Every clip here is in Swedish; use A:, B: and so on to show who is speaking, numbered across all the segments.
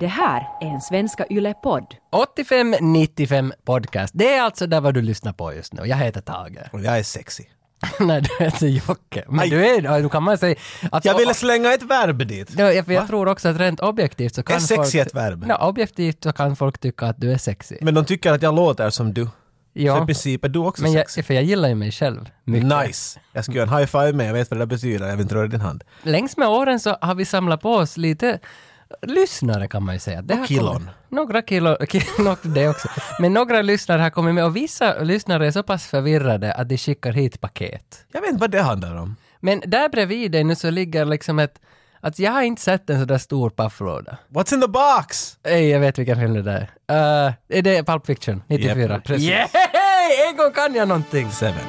A: Det här är en Svenska Yle-podd.
B: 85-95 podcast. Det är alltså där vad du lyssnar på just nu. Jag heter Tage.
C: Och jag är sexy.
B: Nej, du heter Jocke. Men
C: Aj.
B: du är, ja, då kan man säga... Alltså,
C: Jag ville slänga ett verb dit.
B: Ja, jag, för jag
C: Va?
B: tror också att rent objektivt så kan
C: Är sexy
B: folk...
C: ett verb?
B: Ja, objektivt så kan folk tycka att du är sexy.
C: Men de tycker att jag låter som du. Så
B: ja,
C: i princip är du också
B: men jag,
C: sexy.
B: för jag gillar ju mig själv mycket.
C: Nice! Jag skulle göra en high five med, jag vet vad det där betyder, jag vill inte röra din hand.
B: Längs med åren så har vi samlat på oss lite lyssnare kan man ju säga. Det har kommit-
C: killon.
B: Några kilo, kilo, det också. Men några lyssnare har kommit med och vissa lyssnare är så pass förvirrade att de skickar hit paket.
C: Jag vet inte vad det handlar om.
B: Men där bredvid dig nu så ligger liksom ett... Att jag har inte sett en sådär stor pafflåda.
C: What's in the box?
B: Nej, jag vet vilken film det där är. Eh, är det Pulp Fiction, 94?
C: Japp, precis.
B: Yeah! En gång kan jag någonting!
C: Seven.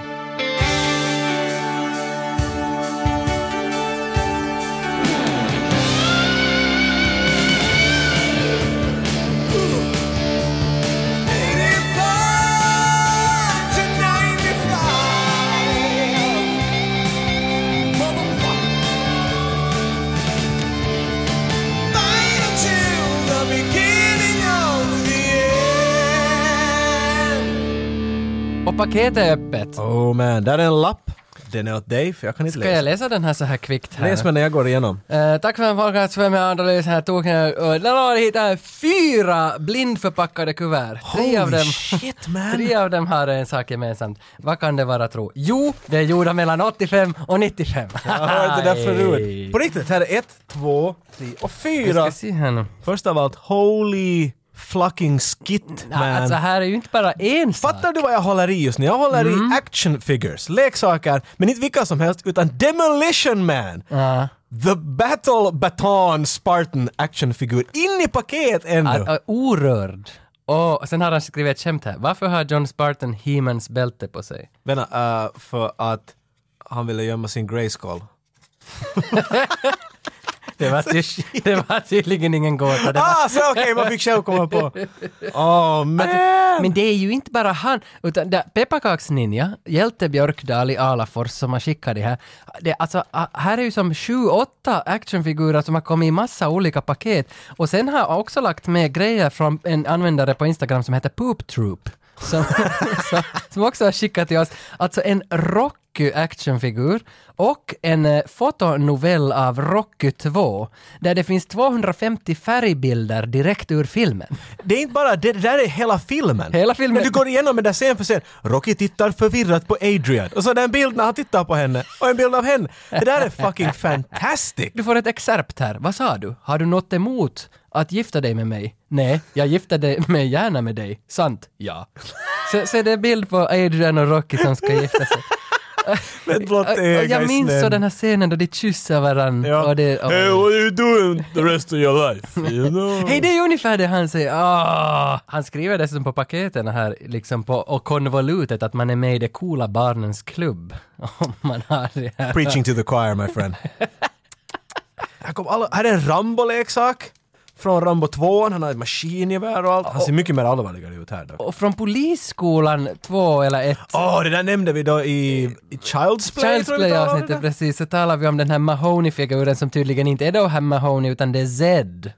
B: Och paketet är öppet.
C: Oh man, där är en lapp. Den är åt dig, för jag kan inte
B: Ska jag
C: läsa.
B: läsa den här så här kvickt här?
C: Läs med när jag går igenom.
B: Eh, tack för en podcast för mig, Andreas här tog jag och där har jag hittat fyra blindförpackade kuvert. Tre av
C: Holy
B: dem,
C: shit, man.
B: tre av dem har en sak gemensamt. Vad kan det vara tro? Jo, det är gjorda mellan 85 och 95.
C: Jag har hört det där förut. På riktigt, här är ett, två, tre och
B: Vi ska
C: fyra.
B: se här nu.
C: Först av allt, holy fucking skit
B: Ja,
C: man.
B: alltså här är ju inte bara en sak.
C: Fattar du vad jag håller i just nu? Jag håller
B: Mm.
C: i action figures, leksaker, men inte vilka som helst utan Demolition Man!
B: Ja.
C: The Battle Baton Spartan actionfigur in i paket
B: Att-
C: ändå!
B: att- Orörd. Och sen har han skrivit ett skämt här. Varför har John Spartan He-Mans bälte på sig?
C: Vänta, eh, för att han ville gömma sin grayskull.
B: Det var, ty- det var tydligen ingen gåta. Det var...
C: Ah, så okej, man fick själv komma på! Oh man!
B: Men det är ju inte bara han, utan det- Pepparkaksninja, Hjälte Björkdal i Alafors som har skickat det här. Det, alltså, a- här är ju som sju, åtta actionfigurer som har kommit i massa olika paket. Och sen har jag också lagt med grejer från en användare på Instagram som heter Poop Troop. Som, som, som också har skickat till oss. Alltså en Rocky actionfigur och en eh, fotonovell av Rocky 2 där det finns 250 färgbilder direkt ur filmen.
C: Det är inte bara det, det där är hela filmen.
B: Hela filmen.
C: När du går igenom med där scen för scen. Rocky tittar förvirrat på Adrian. Och så den bild när han tittar på henne. Och en bild av henne. Det där är fucking fantastic!
B: Du får ett excerpt här. Vad sa du? Har du något emot att gifta dig med mig? Nej, jag gifter dig- mig gärna med dig. Sant? Ja. Så, så det är bild på Adrian och Rocky som ska gifta sig.
C: Med ett blått
B: Och, och
C: öga
B: jag
C: i
B: minns så
C: snön.
B: den här scenen då de kysser varandra.
C: Ja.
B: Och det,
C: Hey,
B: och,
C: what are you doing the rest of your life? You know?
B: Hej, det är ju ungefär det han säger. Ah! Han skriver dessutom på paketen här, liksom på, och konvolutet, att man är med i de coola barnens klubb. Om man har det här.
C: Preaching to the choir, my friend. Här, kom alla, här är en Rambo-leksak. Från Rambo 2, han har ett maskingevär och allt. Han ser mycket mer allvarligare ut här dock.
B: Och från Polisskolan 2 eller 1
C: Åh, det där nämnde vi då i, i Child's Play.
B: Child's
C: tror jag vi talade om det där.
B: Play-avsnittet, precis, så talar vi om den här Mahoney-figuren som tydligen inte är då här Mahoney utan det är Zed.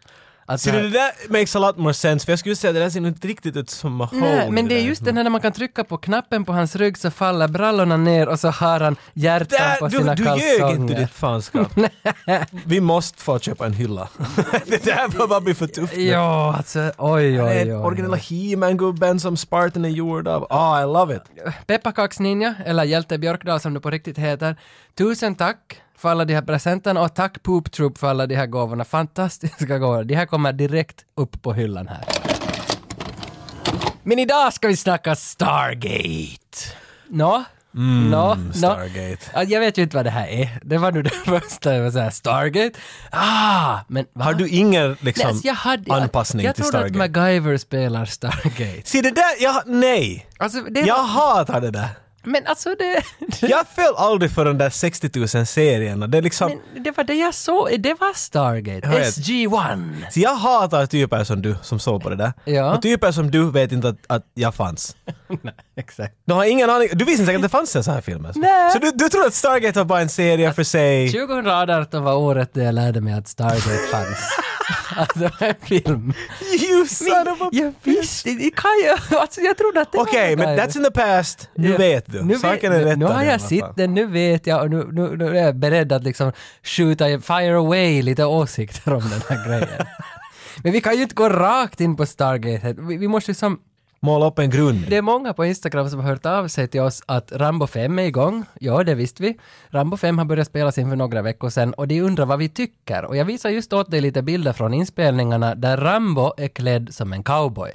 B: Alltså,
C: Så det där makes a lot more sense, för jag skulle säga att det där ser nog inte riktigt ut som Mahoney.
B: Nej, men det är
C: där.
B: just den här när man kan trycka på knappen på hans rygg så faller brallorna ner och så har han hjärtan
C: Där,
B: på sina
C: du, du ljög inte
B: kalsonger.
C: ditt fanskap. Vi måste få köpa en hylla. det där får bara bli för tufft. nu.
B: Ja, alltså oj,
C: Det
B: oj,
C: är
B: oj.
C: originella
B: oj.
C: He-Man-gubben som Spartan är gjord av. Ah, I love it!
B: Pepparkaksninja, eller Hjälte Björkdal som du på riktigt heter. Tusen tack för alla de här presenterna och tack Poop Troop för alla de här gåvorna. Fantastiska gåvor. De här kommer direkt upp på hyllan här. Men idag ska vi snacka Stargate. Nå? Nå? Nå?
C: Stargate.
B: Ja, Jag vet ju inte vad det här är. Det var nu det första jag var såhär, Stargate? Ah! Men va?
C: Har du ingen liksom,
B: Nej, jag hade,
C: anpassning
B: jag, jag
C: till
B: trodde
C: Stargate?
B: att MacGyver spelar Stargate.
C: Se det där, jag, nej!
B: Alltså, det
C: Jag
B: var,
C: hatar det där.
B: Men alltså det...
C: Jag föll aldrig för de där 60 000 serierna. Det är liksom...
B: Men det var det jag såg, det var Stargate.
C: Jag vet.
B: SG-1.
C: Så jag hatar typer som du som såg på det där.
B: Ja.
C: Och typer som du vet inte att, att jag fanns.
B: Nej, exakt.
C: Du har ingen aning. Du visste inte säkert att det fanns en sån här film. Alltså.
B: Nej.
C: Så du, du tror att Stargate var bara en serie för sig.
B: 2018 var året då jag lärde mig att Stargate fanns. att det var en film.
C: You son of a...
B: Jag visste inte, kan jag, alltså jag trodde att det
C: Okej,
B: var
C: men
B: Geiger.
C: that's in the past. Nu
B: Ja.
C: vet du.
B: Nu,
C: Saken
B: vet-
C: är rätt.
B: nu har jag sett den, nu vet jag och nu, nu, nu är jag beredd att liksom skjuta fire away lite åsikter om den här grejen. Men vi kan ju inte gå rakt in på Stargate. Vi, vi måste liksom
C: Måla upp en grund.
B: det är många på Instagram som har hört av sig till oss att Rambo 5 är igång. Ja, det visste vi. Rambo 5 har börjat spelas in för några veckor sedan och de undrar vad vi tycker. Och jag visar just åt dig lite bilder från inspelningarna där Rambo är klädd som en cowboy.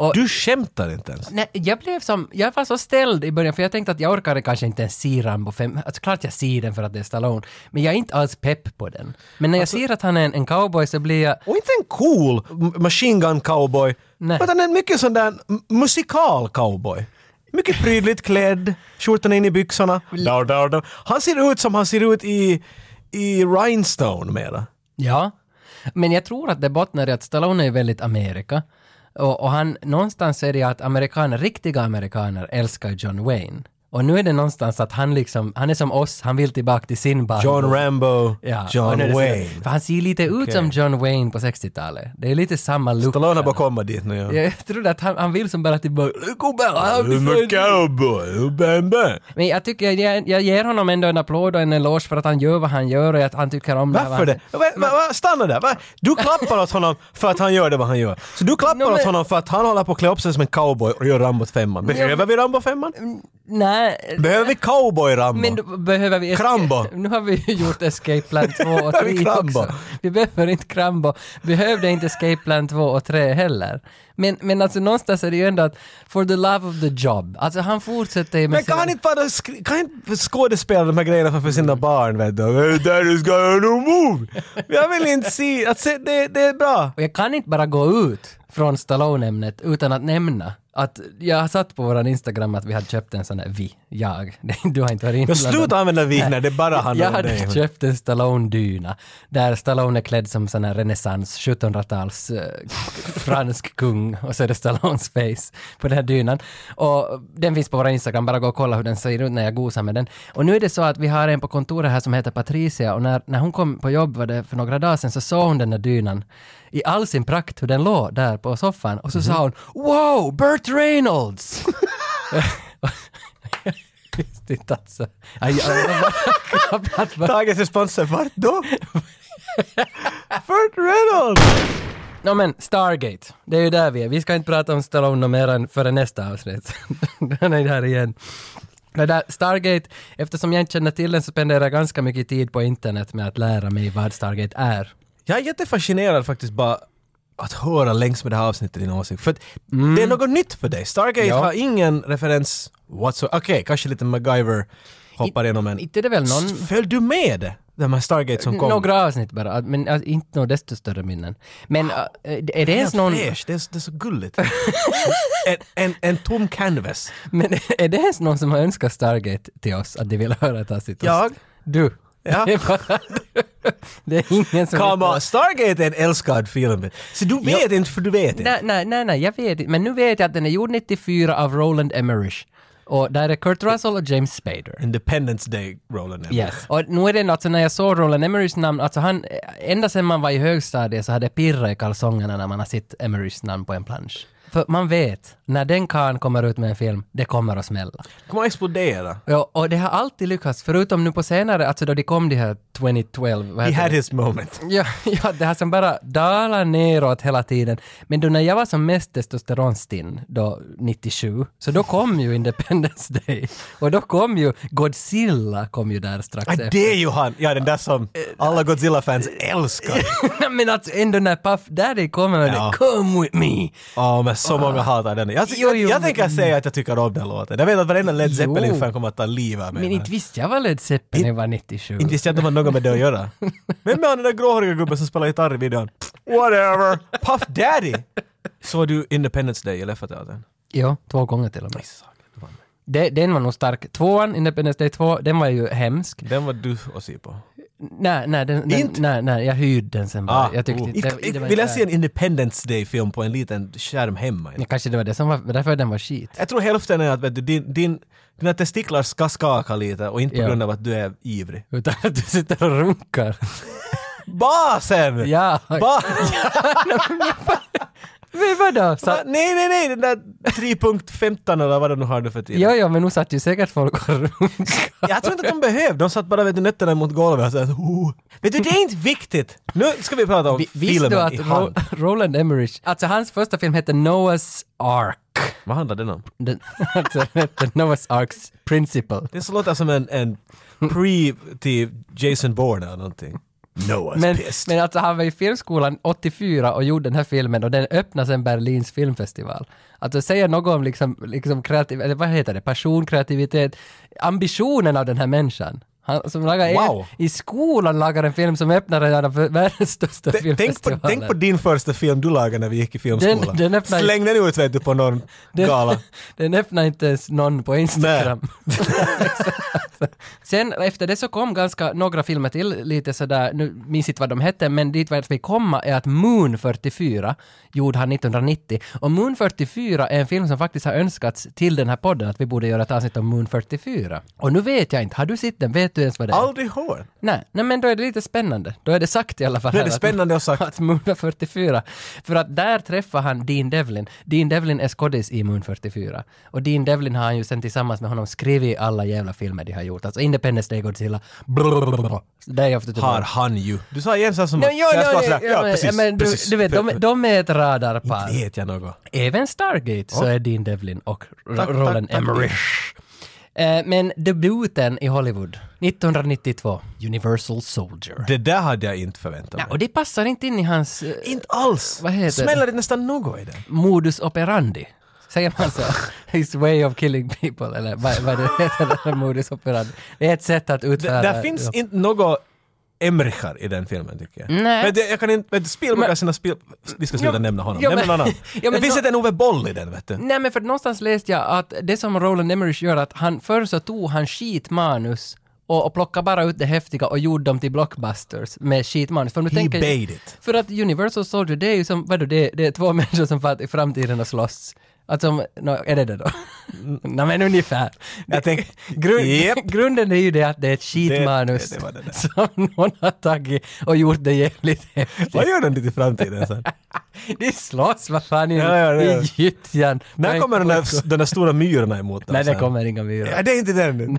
B: Och
C: Du skämtar inte ens.
B: Nej, jag blev som, jag var så ställd i början för jag tänkte att jag orkade kanske inte ens se Rambo 5. Alltså klart jag ser den för att det är Stallone, men jag är inte alls pepp på den. Men när jag ser att han är en, en cowboy så blir jag,
C: Och inte en cool m- machine gun cowboy.
B: Nej.
C: Utan en mycket sån där m- musikal cowboy. Mycket prydligt klädd, skjortan in i byxorna. Dar, dar, dar. Han ser ut som han ser ut i, i Rhinestone mera.
B: Ja, men jag tror att det bottnar i att Stallone är väldigt Amerika. Och, och han, någonstans är det att amerikaner, riktiga amerikaner älskar John Wayne. Och nu är det någonstans att han liksom, han är som oss, han vill tillbaka till sin barndom.
C: John Rambo,
B: Ja, och
C: John
B: nu är det så-
C: Wayne.
B: För han ser lite ut som John Wayne på 60-talet. Det är lite samma look.
C: Stallone har bara kommit dit nu. Ja.
B: Jag trodde att han, han vill som bara tillbaka, gubben, han blir född."
C: cowboy, bam, bam.
B: Men jag tycker, jag, jag ger honom ändå en applåd och en eloge för att han gör vad han gör och att han tycker om här, vad
C: Varför
B: han-
C: det? Va, va, va, stanna där. Va? Du klappar åt honom för att han gör det vad han gör. Så du klappar
B: No, men-
C: åt honom för att han håller på att klä upp sig som en cowboy och gör Rambo 5. Behöver vi Rambo 5?
B: Nej,
C: Behöver vi cowboy-Rambo?
B: Men då behöver vi...
C: Krambo.
B: Nu har vi ju gjort Escape Plan 2 och
C: Har vi
B: 3
C: Krambo?
B: också. Vi behöver inte Krambo. Behövde inte Escape Plan 2 och 3 heller. Men, men alltså någonstans är det ju ändå att for the love of the job. Alltså han fortsätter ju med
C: Men kan han inte bara sk- kan han inte skådespela de här grejerna framför sina barn vet du? Eh, That is gonna no move! Jag vill inte se, att se det, det är bra.
B: Och jag kan inte bara gå ut från Stallone-ämnet utan att nämna att jag har satt på våran Instagram att vi hade köpt en sån där vi, jag. Du har inte varit
C: Jag
B: inblandad.
C: slutar använda vi när det bara handlar
B: Jag
C: om
B: hade
C: dig.
B: köpt en Stallone-dyna där Stallone är klädd som sån här renässans, 1700-tals eh, fransk kung och så är det Stallones face på den här dynan. Och den finns på våra Instagram, bara gå och kolla hur den ser ut när jag gosar med den. Och nu är det så att vi har en på kontoret här som heter Patricia och när, när hon kom på jobb var det för några dagar sedan så såg hon den där dynan i all sin prakt hur den låg där på soffan och så sa hon “Wow, Burt Reynolds!” Visst inte alltså. Jag, jag, jag, jag, jag,
C: Tages responser, vart då? Burt Reynolds!
B: Nå men, Stargate. Det är ju där vi är. Vi ska inte prata om Stallone och mer än före nästa avsnitt. Den är där igen. Det där Stargate, eftersom jag inte känner till den så spenderar jag ganska mycket tid på internet med att lära mig vad Stargate är.
C: Jag är jättefascinerad faktiskt bara att höra längs med det här avsnittet din åsikt. För att det är något nytt för dig. Stargate
B: Mm. Ja.
C: har ingen referens whatsoever. Okej, kanske lite MacGyver hoppar igenom en...
B: Inte är det väl någon...
C: Föll du med de här Stargate som kom?
B: Mm. Några avsnitt bara, men alltså, inte några desto större minnen. Men äh, är det ens
C: Helt
B: någon...
C: fräsch, det är, så- det är så gulligt. en, en, en tom canvas.
B: Men är det ens någon som har önskat Stargate till oss, att de vill höra ett avsnitt?
C: Jag?
B: Du?
C: Ja.
B: Det är bara du. Det är ingen som...
C: Come on, Stargate är en älskad film. Så du vet inte för du vet inte.
B: Nej, nej, nej, nej, jag vet inte. Men nu vet jag att den är gjord 94 av Roland Emmerich. Och där är Kurt Russell och James Spader.
C: Independence Day, Roland.
B: Yes. Och nu är det alltså när jag såg Roland Emmerichs namn, alltså han, ända sedan man var i högstadiet så hade jag pirrat i kalsongerna när man har sett Emmerichs namn på en plansch. För man vet, när den karln kommer ut med en film, det kommer att smälla.
C: Kommer att explodera.
B: Ja, och det har alltid lyckats, förutom nu på senare, alltså då de kom de här 2012, vad
C: He
B: heter det?
C: had his moment.
B: Ja, ja, det har som bara dalar neråt hela tiden. Men då när jag var som mest testosteronstinn, då 97, så då kom ju Independence Day. Och då kom ju Godzilla kom ju där strax
C: Ah,
B: efter.
C: Det är ju han! Ja, den där
B: Eh,
C: som alla Godzilla-fans älskar.
B: Men alltså ändå när Puff Daddy kommer och
C: Ja.
B: det “Come with me”.
C: Ja, men så många hatar den. Jag,
B: eh, Jo, jo,
C: jag, jag tänker
B: men-
C: säga att jag tycker om den låten. Jag vet att varenda Led
B: Jo.
C: Zeppelin-fan kommer att ta livet av mig.
B: Men
C: med
B: inte visste jag vad Led Zeppelin var 97.
C: Inte visste jag att de hade något med det att göra. Vem är han den där gråhåriga gubben som spelar gitarr i videon? Whatever! Puff Daddy! Såg du Independence Day i Leffateatern?
B: Ja, två gånger till och med. Det, den var nog stark. Tvåan, Independence Day 2, den var ju hemsk.
C: Den var du och se på.
B: Nej, nej, den, den,
C: Inte?
B: nej, nej, jag hyrde den sen bara. jag tyckte
C: oh.
B: det- det var
C: Vill jag
B: inte-
C: se en Independence Day-film på en liten skärm hemma?
B: Ja, kanske det var det som var, därför den var skit.
C: Jag tror hälften är att vet du, din, din, dina testiklar ska skaka lite och inte på
B: Ja.
C: grund av att du är ivrig.
B: Utan att du sitter och runkar.
C: Basen!
B: Ja.
C: Ba-
B: Men vadå? Så,
C: nej, nej, nej, den där 3.15 eller vad det nu har du för tid.
B: jo, jo, men nu satt ju säkert folk och runkade.
C: Jag tror inte att de behövde, de satt bara vet du, nötterna mot golvet och såhär oh. Vet du, det är inte viktigt! Nu ska vi prata om
B: Vi- Visste du
C: filmen
B: att
C: i
B: Ro-
C: hand.
B: Roland Emmerich, alltså hans första film hette Noah's Ark.
C: Vad handlar den om?
B: Den, alltså den hette Noah's Arks Principle.
C: Det så låter som en, en pre till Jason Bourne eller någonting. Noah's
B: Men,
C: pissed.
B: men alltså han var i filmskolan 84 och gjorde den här filmen och den öppnade sen Berlins filmfestival. Alltså säger något om liksom, liksom kreativ, eller vad heter det, passion, kreativitet, ambitionen av den här människan. Han som lagar
C: Wow.
B: en, i skolan lagar en film som öppnar en av världens största
C: T- Tänk på,
B: filmfestivaler.
C: tänk på din första film du lagade när vi gick i filmskolan.
B: Den- den öppnar-
C: Släng den ut vet du på någon gala.
B: Den öppnar inte ens någon på Instagram. Sen efter det så kom ganska några filmer till, lite sådär, nu minns inte vad de hette, men dit vart vi komma är att Moon 44 gjorde han 1990. Och Moon 44 är en film som faktiskt har önskats till den här podden, att vi borde göra ett avsnitt om Moon 44. Och nu vet jag inte, har du sett den? Vet du ens vad det är?
C: Aldrig hört.
B: Nej, nej, men då är det lite spännande. Då är det sagt i alla fall.
C: Nu är
B: här
C: det
B: att-
C: spännande och sagt.
B: att Moon var 44. För att där träffar han Dean Devlin. Dean Devlin är skådis i Moon 44. Och Dean Devlin har han ju sen tillsammans med honom skrivit alla jävla filmer de har gjort. Alltså Independence Day, Godzilla, blablabla, Day of the
C: Har
B: Tomorrow.
C: han ju. Du sa igen så här som
B: Nej, jo,
C: jag
B: jo,
C: ska vara
B: jo,
C: sådär,
B: jo, men- men du, du vet, de, de är ett radarpar.
C: Vet jag något?
B: Även Stargate så är Dean Devlin och R-
C: Tack,
B: Roland
C: tack, tack.
B: Emmerich. Eh, Men debuten i Hollywood, 1992, Universal Soldier.
C: Det där hade jag inte förväntat mig.
B: Ja, och det passar inte in i hans eh,
C: Inte alls!
B: Vad heter
C: Smäller det nästan något i den?
B: modus operandi. Säger man så? His way of killing people, eller vad, vad det heter, det här modus operandi. Det är ett sätt att
C: D-
B: utföra...
C: där finns inte något Emrichar i den filmen tycker jag.
B: Nej.
C: Men det, jag kan inte, men Spielberg
B: Men-
C: har sina spel... Vi ska sluta
B: Jo,
C: nämna honom.
B: jo,
C: Nämn
B: men-
C: någon annan.
B: jo,
C: det
B: men
C: finns
B: nå-
C: inte en Ove Boll i den vet du.
B: Nej men för någonstans läste jag att det som Roland Emmerich gör att han förr så tog han skitmanus och, och plockade bara ut det häftiga och gjorde dem till blockbusters med skitmanus. För om du
C: He
B: tänker,
C: bade it.
B: För att Universal Soldier, det är ju som, vadå, det, det är två människor som far i framtiden och slåss. Alltså, nå, är det det då? Nej men ungefär.
C: Mm. Jag tänker...
B: Grund,
C: Japp.
B: Grunden är ju det att det är ett skitmanus
C: Det- det var det där.
B: som någon har tagit och gjort det jävligt häftigt.
C: Vad gör den dit i framtiden sen?
B: De slåss vad fan i,
C: Ja, ja, det gör
B: i
C: det.
B: gyttjan.
C: När
B: På-
C: kommer den där, den där stora myrorna emot dem
B: Nej det
C: sen?
B: kommer inga myror.
C: Ja, det är inte den.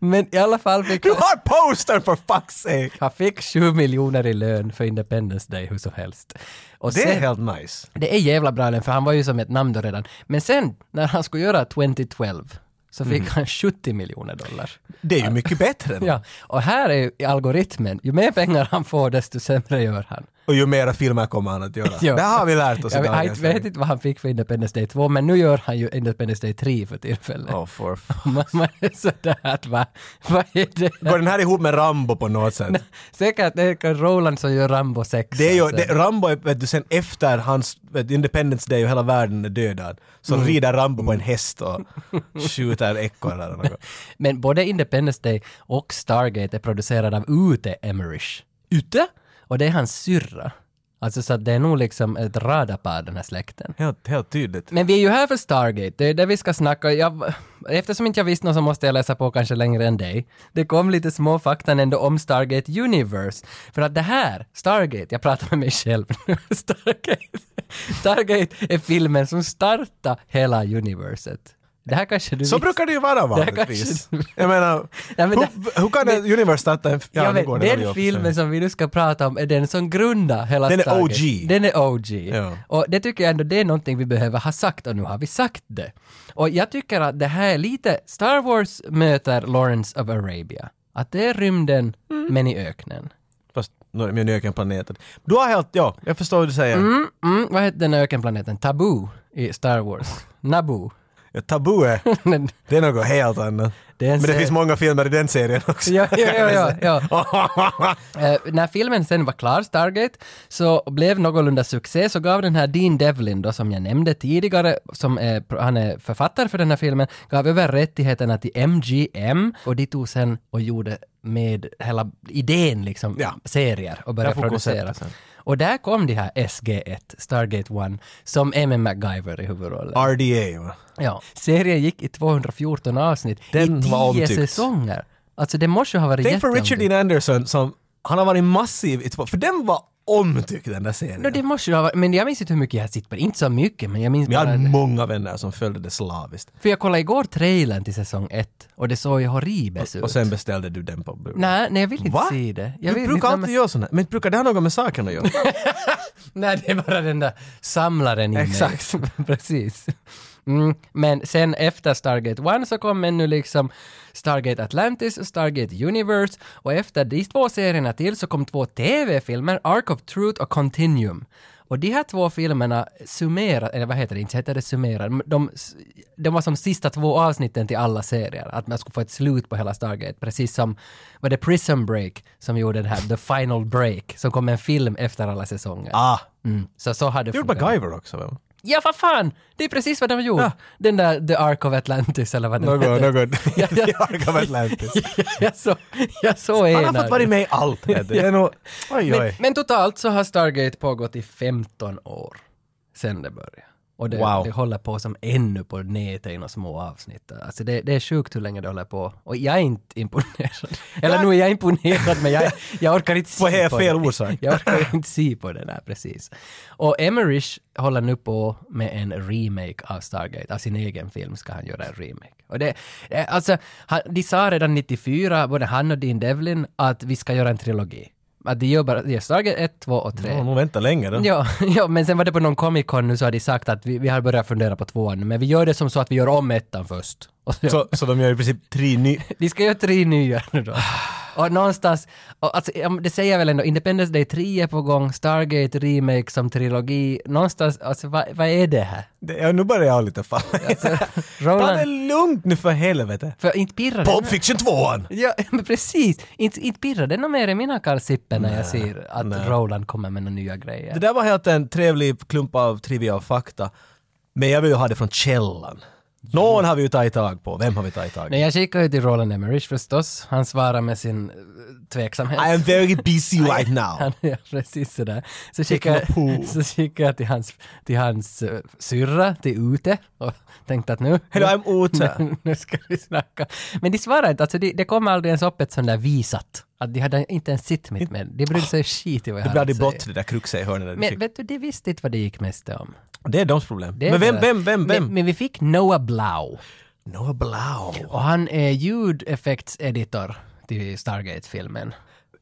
B: Men i alla fall fick
C: Du
B: han,
C: har postern för fuck's sake!
B: han fick 7 miljoner i lön för Independence Day hur som helst. Och
C: Det är
B: sen,
C: helt nice.
B: det är jävla bra lön för han var ju som ett namn då redan. Men sen när han skulle göra 2012 så fick
C: Mm.
B: han 70 miljoner dollar.
C: Det är ju mycket bättre. än-
B: Ja, och här är ju algoritmen. Ju mer pengar han får desto sämre gör han.
C: Och ju mera filmer kommer han att göra.
B: Ja.
C: Det har vi lärt oss i
B: Jag vet,
C: dagens
B: jag vet
C: läge.
B: inte vad han fick för Independence Day 2, men nu gör han ju Independence Day 3 för tillfället.
C: Oh, for f-
B: Man, man är sådär att va, vad är det?
C: Går den här ihop med Rambo på något sätt?
B: Säkert det är Roland som gör Rambo alltså. 6.
C: Det är ju, det, Rambo är, vet du, sen efter hans vet, du, Independence Day och hela världen är dödad, så
B: Mm.
C: rider Rambo på en häst och skjuter ekorrar eller något.
B: Men både Independence Day och Stargate är producerad av Ute Emmerich. Ute? Och det är hans syrra. Alltså så att det är nog liksom ett radarpar den här släkten.
C: Helt, helt tydligt.
B: Men vi är ju här för Stargate, det är det vi ska snacka jag, Eftersom inte jag visste något så måste jag läsa på kanske längre än dig. Det kom lite små fakta ändå om Stargate Universe. För att det här, Stargate, jag pratar med mig själv nu, Stargate. Stargate är filmen som startar hela universet. Det här kanske du
C: Så
B: visste.
C: brukar det ju vara vanligtvis. Jag menar,
B: Ja, men
C: hur, hur kan en universe starta en...
B: jag
C: nu
B: vet,
C: går det väl
B: den
C: ihop.
B: filmen som vi nu ska prata om är den som grundar hela
C: Den är
B: Stargate.
C: OG.
B: Den är OG.
C: Ja.
B: Och det tycker jag ändå det är någonting vi behöver ha sagt och nu har vi sagt det. Och jag tycker att det här är lite Star Wars möter Lawrence of Arabia. Att det är rymden men i öknen.
C: Fast nu är det min ökenplaneten. Du har helt, ja, jag förstår vad du säger.
B: Mm, mm, vad heter den här ökenplaneten? Tabu i Star Wars. Nabu.
C: Ja, tabu är,
B: Men
C: det är något helt annat.
B: det är en
C: Men det
B: serie-
C: finns många filmer i den serien också.
B: Ja, ja, ja, ja, ja. Eh, när filmen sen var klar, Stargate, så blev någorlunda succé, så gav den här Dean Devlin då, som jag nämnde tidigare, som är, han är författare för den här filmen, gav över rättigheterna till MGM och de tog sen och gjorde med hela idén liksom,
C: Ja.
B: serier och började
C: Jag får
B: producera.
C: konceptet sen.
B: Och där kom de här SG1, Stargate 1, som är med MacGyver i huvudrollen.
C: RDA. va?
B: Ja. Serien gick i 214 avsnitt,
C: Den
B: i
C: var
B: 10
C: omtyckt.
B: säsonger. Alltså det måste ju ha varit
C: Tänk E. för
B: jätteomtyckt.
C: Richard Dean Anderson som Han har varit massiv i två... För den var omtyckt den där serien.
B: No, det måste ju ha varit, men jag minns inte hur mycket jag sitter på det. Inte så mycket, men jag minns
C: Men jag
B: bara...
C: hade många vänner som följde det slaviskt.
B: För jag kollade igår trailern till säsong ett och det såg ju horribelt ut.
C: Och sen beställde du den på Blu-ray.
B: Nej, nej jag vill inte
C: Va?
B: se det. Jag
C: Du
B: vill
C: brukar
B: inte,
C: alltid göra sånt här. Men brukar det ha något med saken att göra?
B: Nej, det är bara den där samlaren i mig.
C: Exakt.
B: Precis. Mm. Men sen efter Stargate One så kom ännu liksom Stargate Atlantis och Stargate Universe och efter de två serierna till så kom två TV-filmer, Ark of Truth och Continuum. Och de här två filmerna summerar, eller vad heter det, inte heter det summerar, de, de var som sista två avsnitten till alla serier, att man skulle få ett slut på hela Stargate, precis som var det Prison Break som gjorde den här The Final Break, som kom en film efter alla säsonger.
C: ah!
B: Mm. Så så hade
C: Det gjorde MacGyver också väl?
B: Ja, vad fan! Det är precis vad de gjorde.
C: Ja.
B: Den där The Ark of Atlantis eller vad den
C: Något,
B: hette.
C: något.
B: Ja, ja.
C: I Ark of Atlantis.
B: jag såg jag så
C: Han har fått vara med i allt. vet du. Det är nog... Oj,
B: men,
C: oj.
B: men totalt så har Stargate pågått i 15 år sedan det började. Och det,
C: Wow.
B: det håller på som ännu på nätet i några små avsnitt. Alltså det, det är sjukt hur länge det håller på. Och jag är inte imponerad. Eller nu är jag imponerad men jag, jag orkar inte
C: På
B: se
C: helt
B: på
C: fel
B: det.
C: orsak.
B: Jag orkar inte se på den här precis. Och Emmerich håller nu på med en remake av Stargate, av sin egen film ska han göra en remake. Och det, eh, alltså, han, de sa redan 94, både han och Dean Devlin, att vi ska göra en trilogi. Att de gör bara, de gör Stargate 1, 2 och 3.
C: Jag har nog väntat länge då.
B: Ja, ja, men sen var det på någon Comic Con nu så har de sagt att vi, vi har börjat fundera på tvåan, men vi gör det som så att vi gör om ettan först. Och så,
C: Så, så de gör i princip tre ny...
B: vi ska göra tre nya nu då. Och någonstans, och alltså, ja, men det säger väl ändå, Independence Day 3 är på gång, Stargate remake som trilogi, någonstans, alltså vad, vad är det här?
C: Det- Ja, nu börjar jag lite falla. Ta det
B: Roland,
C: lugnt nu för helvete.
B: för inte pirrar det.
C: Pulp Fiction 2!
B: Ja, men precis. Inte, inte pirrar det något mer i mina kalsipper när jag ser att Roland kommer med några nya grejer.
C: Det där var helt en trevlig klump av trivia och fakta. Men jag vill ju ha det från källan. Någon har vi ju tagit tag på. Vem har vi tagit tag
B: Nej,
C: i?
B: jag kikar ju till Roland Emmerich förstås. Han svarar med sin eh, tveksamhet.
C: I am very busy right now.
B: Han är precis sådär. Så
C: Teckna
B: kikade,
C: på.
B: så kikade jag till hans, till hans uh, syrra, till Ute, och tänkte att nu...
C: Hello, I'm Ute.
B: nu, nu ska vi snacka. Men de svarar inte, alltså det de kom aldrig ens upp ett sånt där visat. Att de hade inte ens sitt mitt med. De brydde sig skit i vad jag
C: Det
B: hade
C: blir aldrig
B: att
C: blått
B: säga.
C: det där kruxet i hörnet. där du
B: Men
C: fick.
B: vet du, de visste inte vad det gick mest om.
C: Det är deras problem.
B: Det är
C: Men vem,
B: det.
C: vem, vem,
B: Men,
C: vem?
B: men vi fick Noah Blau.
C: Noah Blau.
B: Och han är ljudeffektseditor till Stargate-filmen.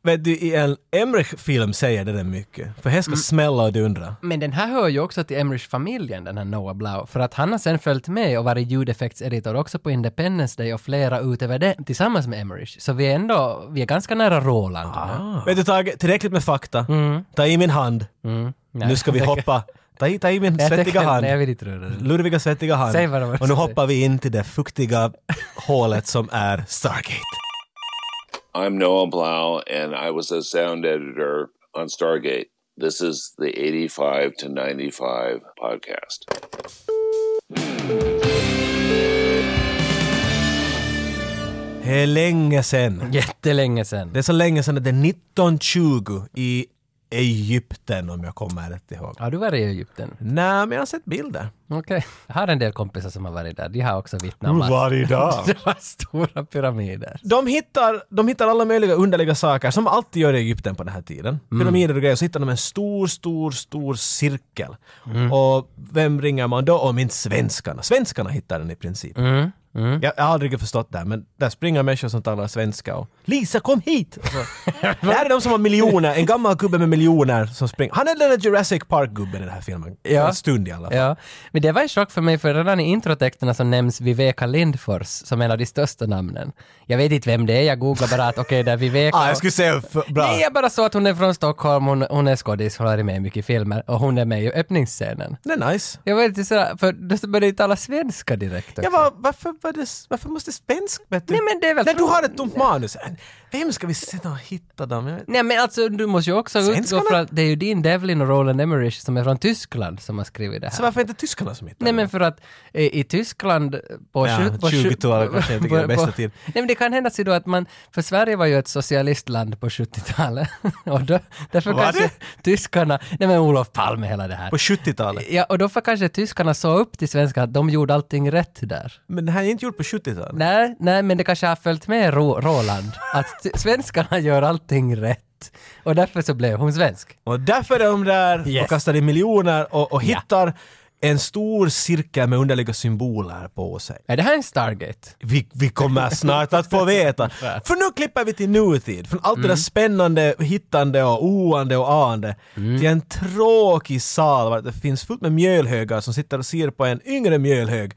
C: Vet du, i en Emmerich-film säger det där mycket. För här ska
B: Mm.
C: smälla och dundra.
B: Men den här hör ju också till Emmerich-familjen, den här Noah Blau, för att han har sen följt med och varit ljudeffektseditor också på Independence Day och flera utöver det tillsammans med Emmerich. Så vi är ändå, vi är ganska nära Roland.
C: Vet du Tage, tillräckligt med fakta. Ta i min hand.
B: Mm. Nej,
C: Nu ska vi
B: jag tänker-
C: hoppa. Ta i, ta i min
B: jag
C: svettiga
B: tänker- Nej, jag
C: hand.
B: vill inte röra det.
C: Lurviga svettiga hand.
B: Säg vad det var du
C: och nu
B: sa.
C: hoppar vi in till det fuktiga hålet som är Stargate.
D: I'm Noah Blau, and I was a sound editor on Stargate. This is the 85 to 95 podcast.
C: Det är länge sen.
B: Jättelänge sen.
C: Det är så länge sen att det är 1920 i Egypten om jag kommer rätt ihåg.
B: Har du varit i Egypten?
C: Nej, men jag har sett bilder.
B: Okej. Jag har en del kompisar som har varit där. De har också vittnat
C: Mm,
B: om att
C: Varje dag.
B: det var stora pyramider.
C: De hittar, de hittar alla möjliga underliga saker som alltid gör i Egypten på den här tiden. Pyramider och grejer, så hittar de en stor, stor, stor cirkel. Och vem ringer man då om inte svenskarna? Svenskarna hittar den i princip. Jag, jag har aldrig förstått det här, men där springer människor som talar svenska och “Lisa, kom hit!” Och så- Det här är de som har miljoner, en gammal gubbe med miljoner som springer. Han är den där Jurassic Park-gubben i den här filmen. För
B: Ja.
C: en stund i alla fall.
B: Ja, men det var en chock för mig för redan i introtexterna så nämns Viveka Lindfors som en av de största namnen. Jag vet inte vem det är, jag googlar bara att okej, där är Viveka.
C: Ah, jag skulle säga för, bra.
B: Nej, jag bara så att hon är från Stockholm, hon, hon är skådis, hon har varit med i mycket filmer och hon är med i öppningsscenen.
C: Det är nice.
B: Jag var lite sådär, för då så började jag tala svenska direkt.
C: Jag
B: också.
C: var, varför, var det, varför måste svensk vet du?
B: Nej, men det är väl
C: När du
B: tråkigt.
C: har ett tomt manus, Äh, vem ska vi sitta och hitta dem? Jag-
B: Nej men alltså du måste ju också utgå
C: Svenskarna?
B: från att det är ju din Devlin och Roland Emmerich som är från Tyskland som har skrivit det här.
C: Så varför är inte tyskarna som hittar
B: Nej men
C: dem?
B: för att eh, i, i Tyskland på,
C: Ja,
B: sju- på sju-
C: 20-talet kanske inte är den bästa tiden.
B: Nej men det kan hända sig då att man, för Sverige var ju ett socialistland på 70-talet och då, därför
C: Var
B: kanske tyskarna, nej men Olof Palme hela det här.
C: På 70-talet.
B: Ja och då för kanske tyskarna såg upp till svenskarna att de gjorde allting rätt där.
C: Men det här är inte gjort på 70-talet.
B: Nej, nej, men det kanske har följt med Ro- Roland att t- svenskarna gör allting rätt. Och därför så blev hon svensk.
C: Och därför är de där
B: Yes.
C: och kastar in miljoner och, och hittar en stor cirkel med underliga symboler på sig.
B: Är det här en Stargate?
C: Vi, vi kommer snart att få veta. För nu klipper vi till nutid. Från allt det där spännande, hittande och oande och aande till en tråkig sal där det finns fullt med mjölhögar som sitter och ser på en yngre mjölhög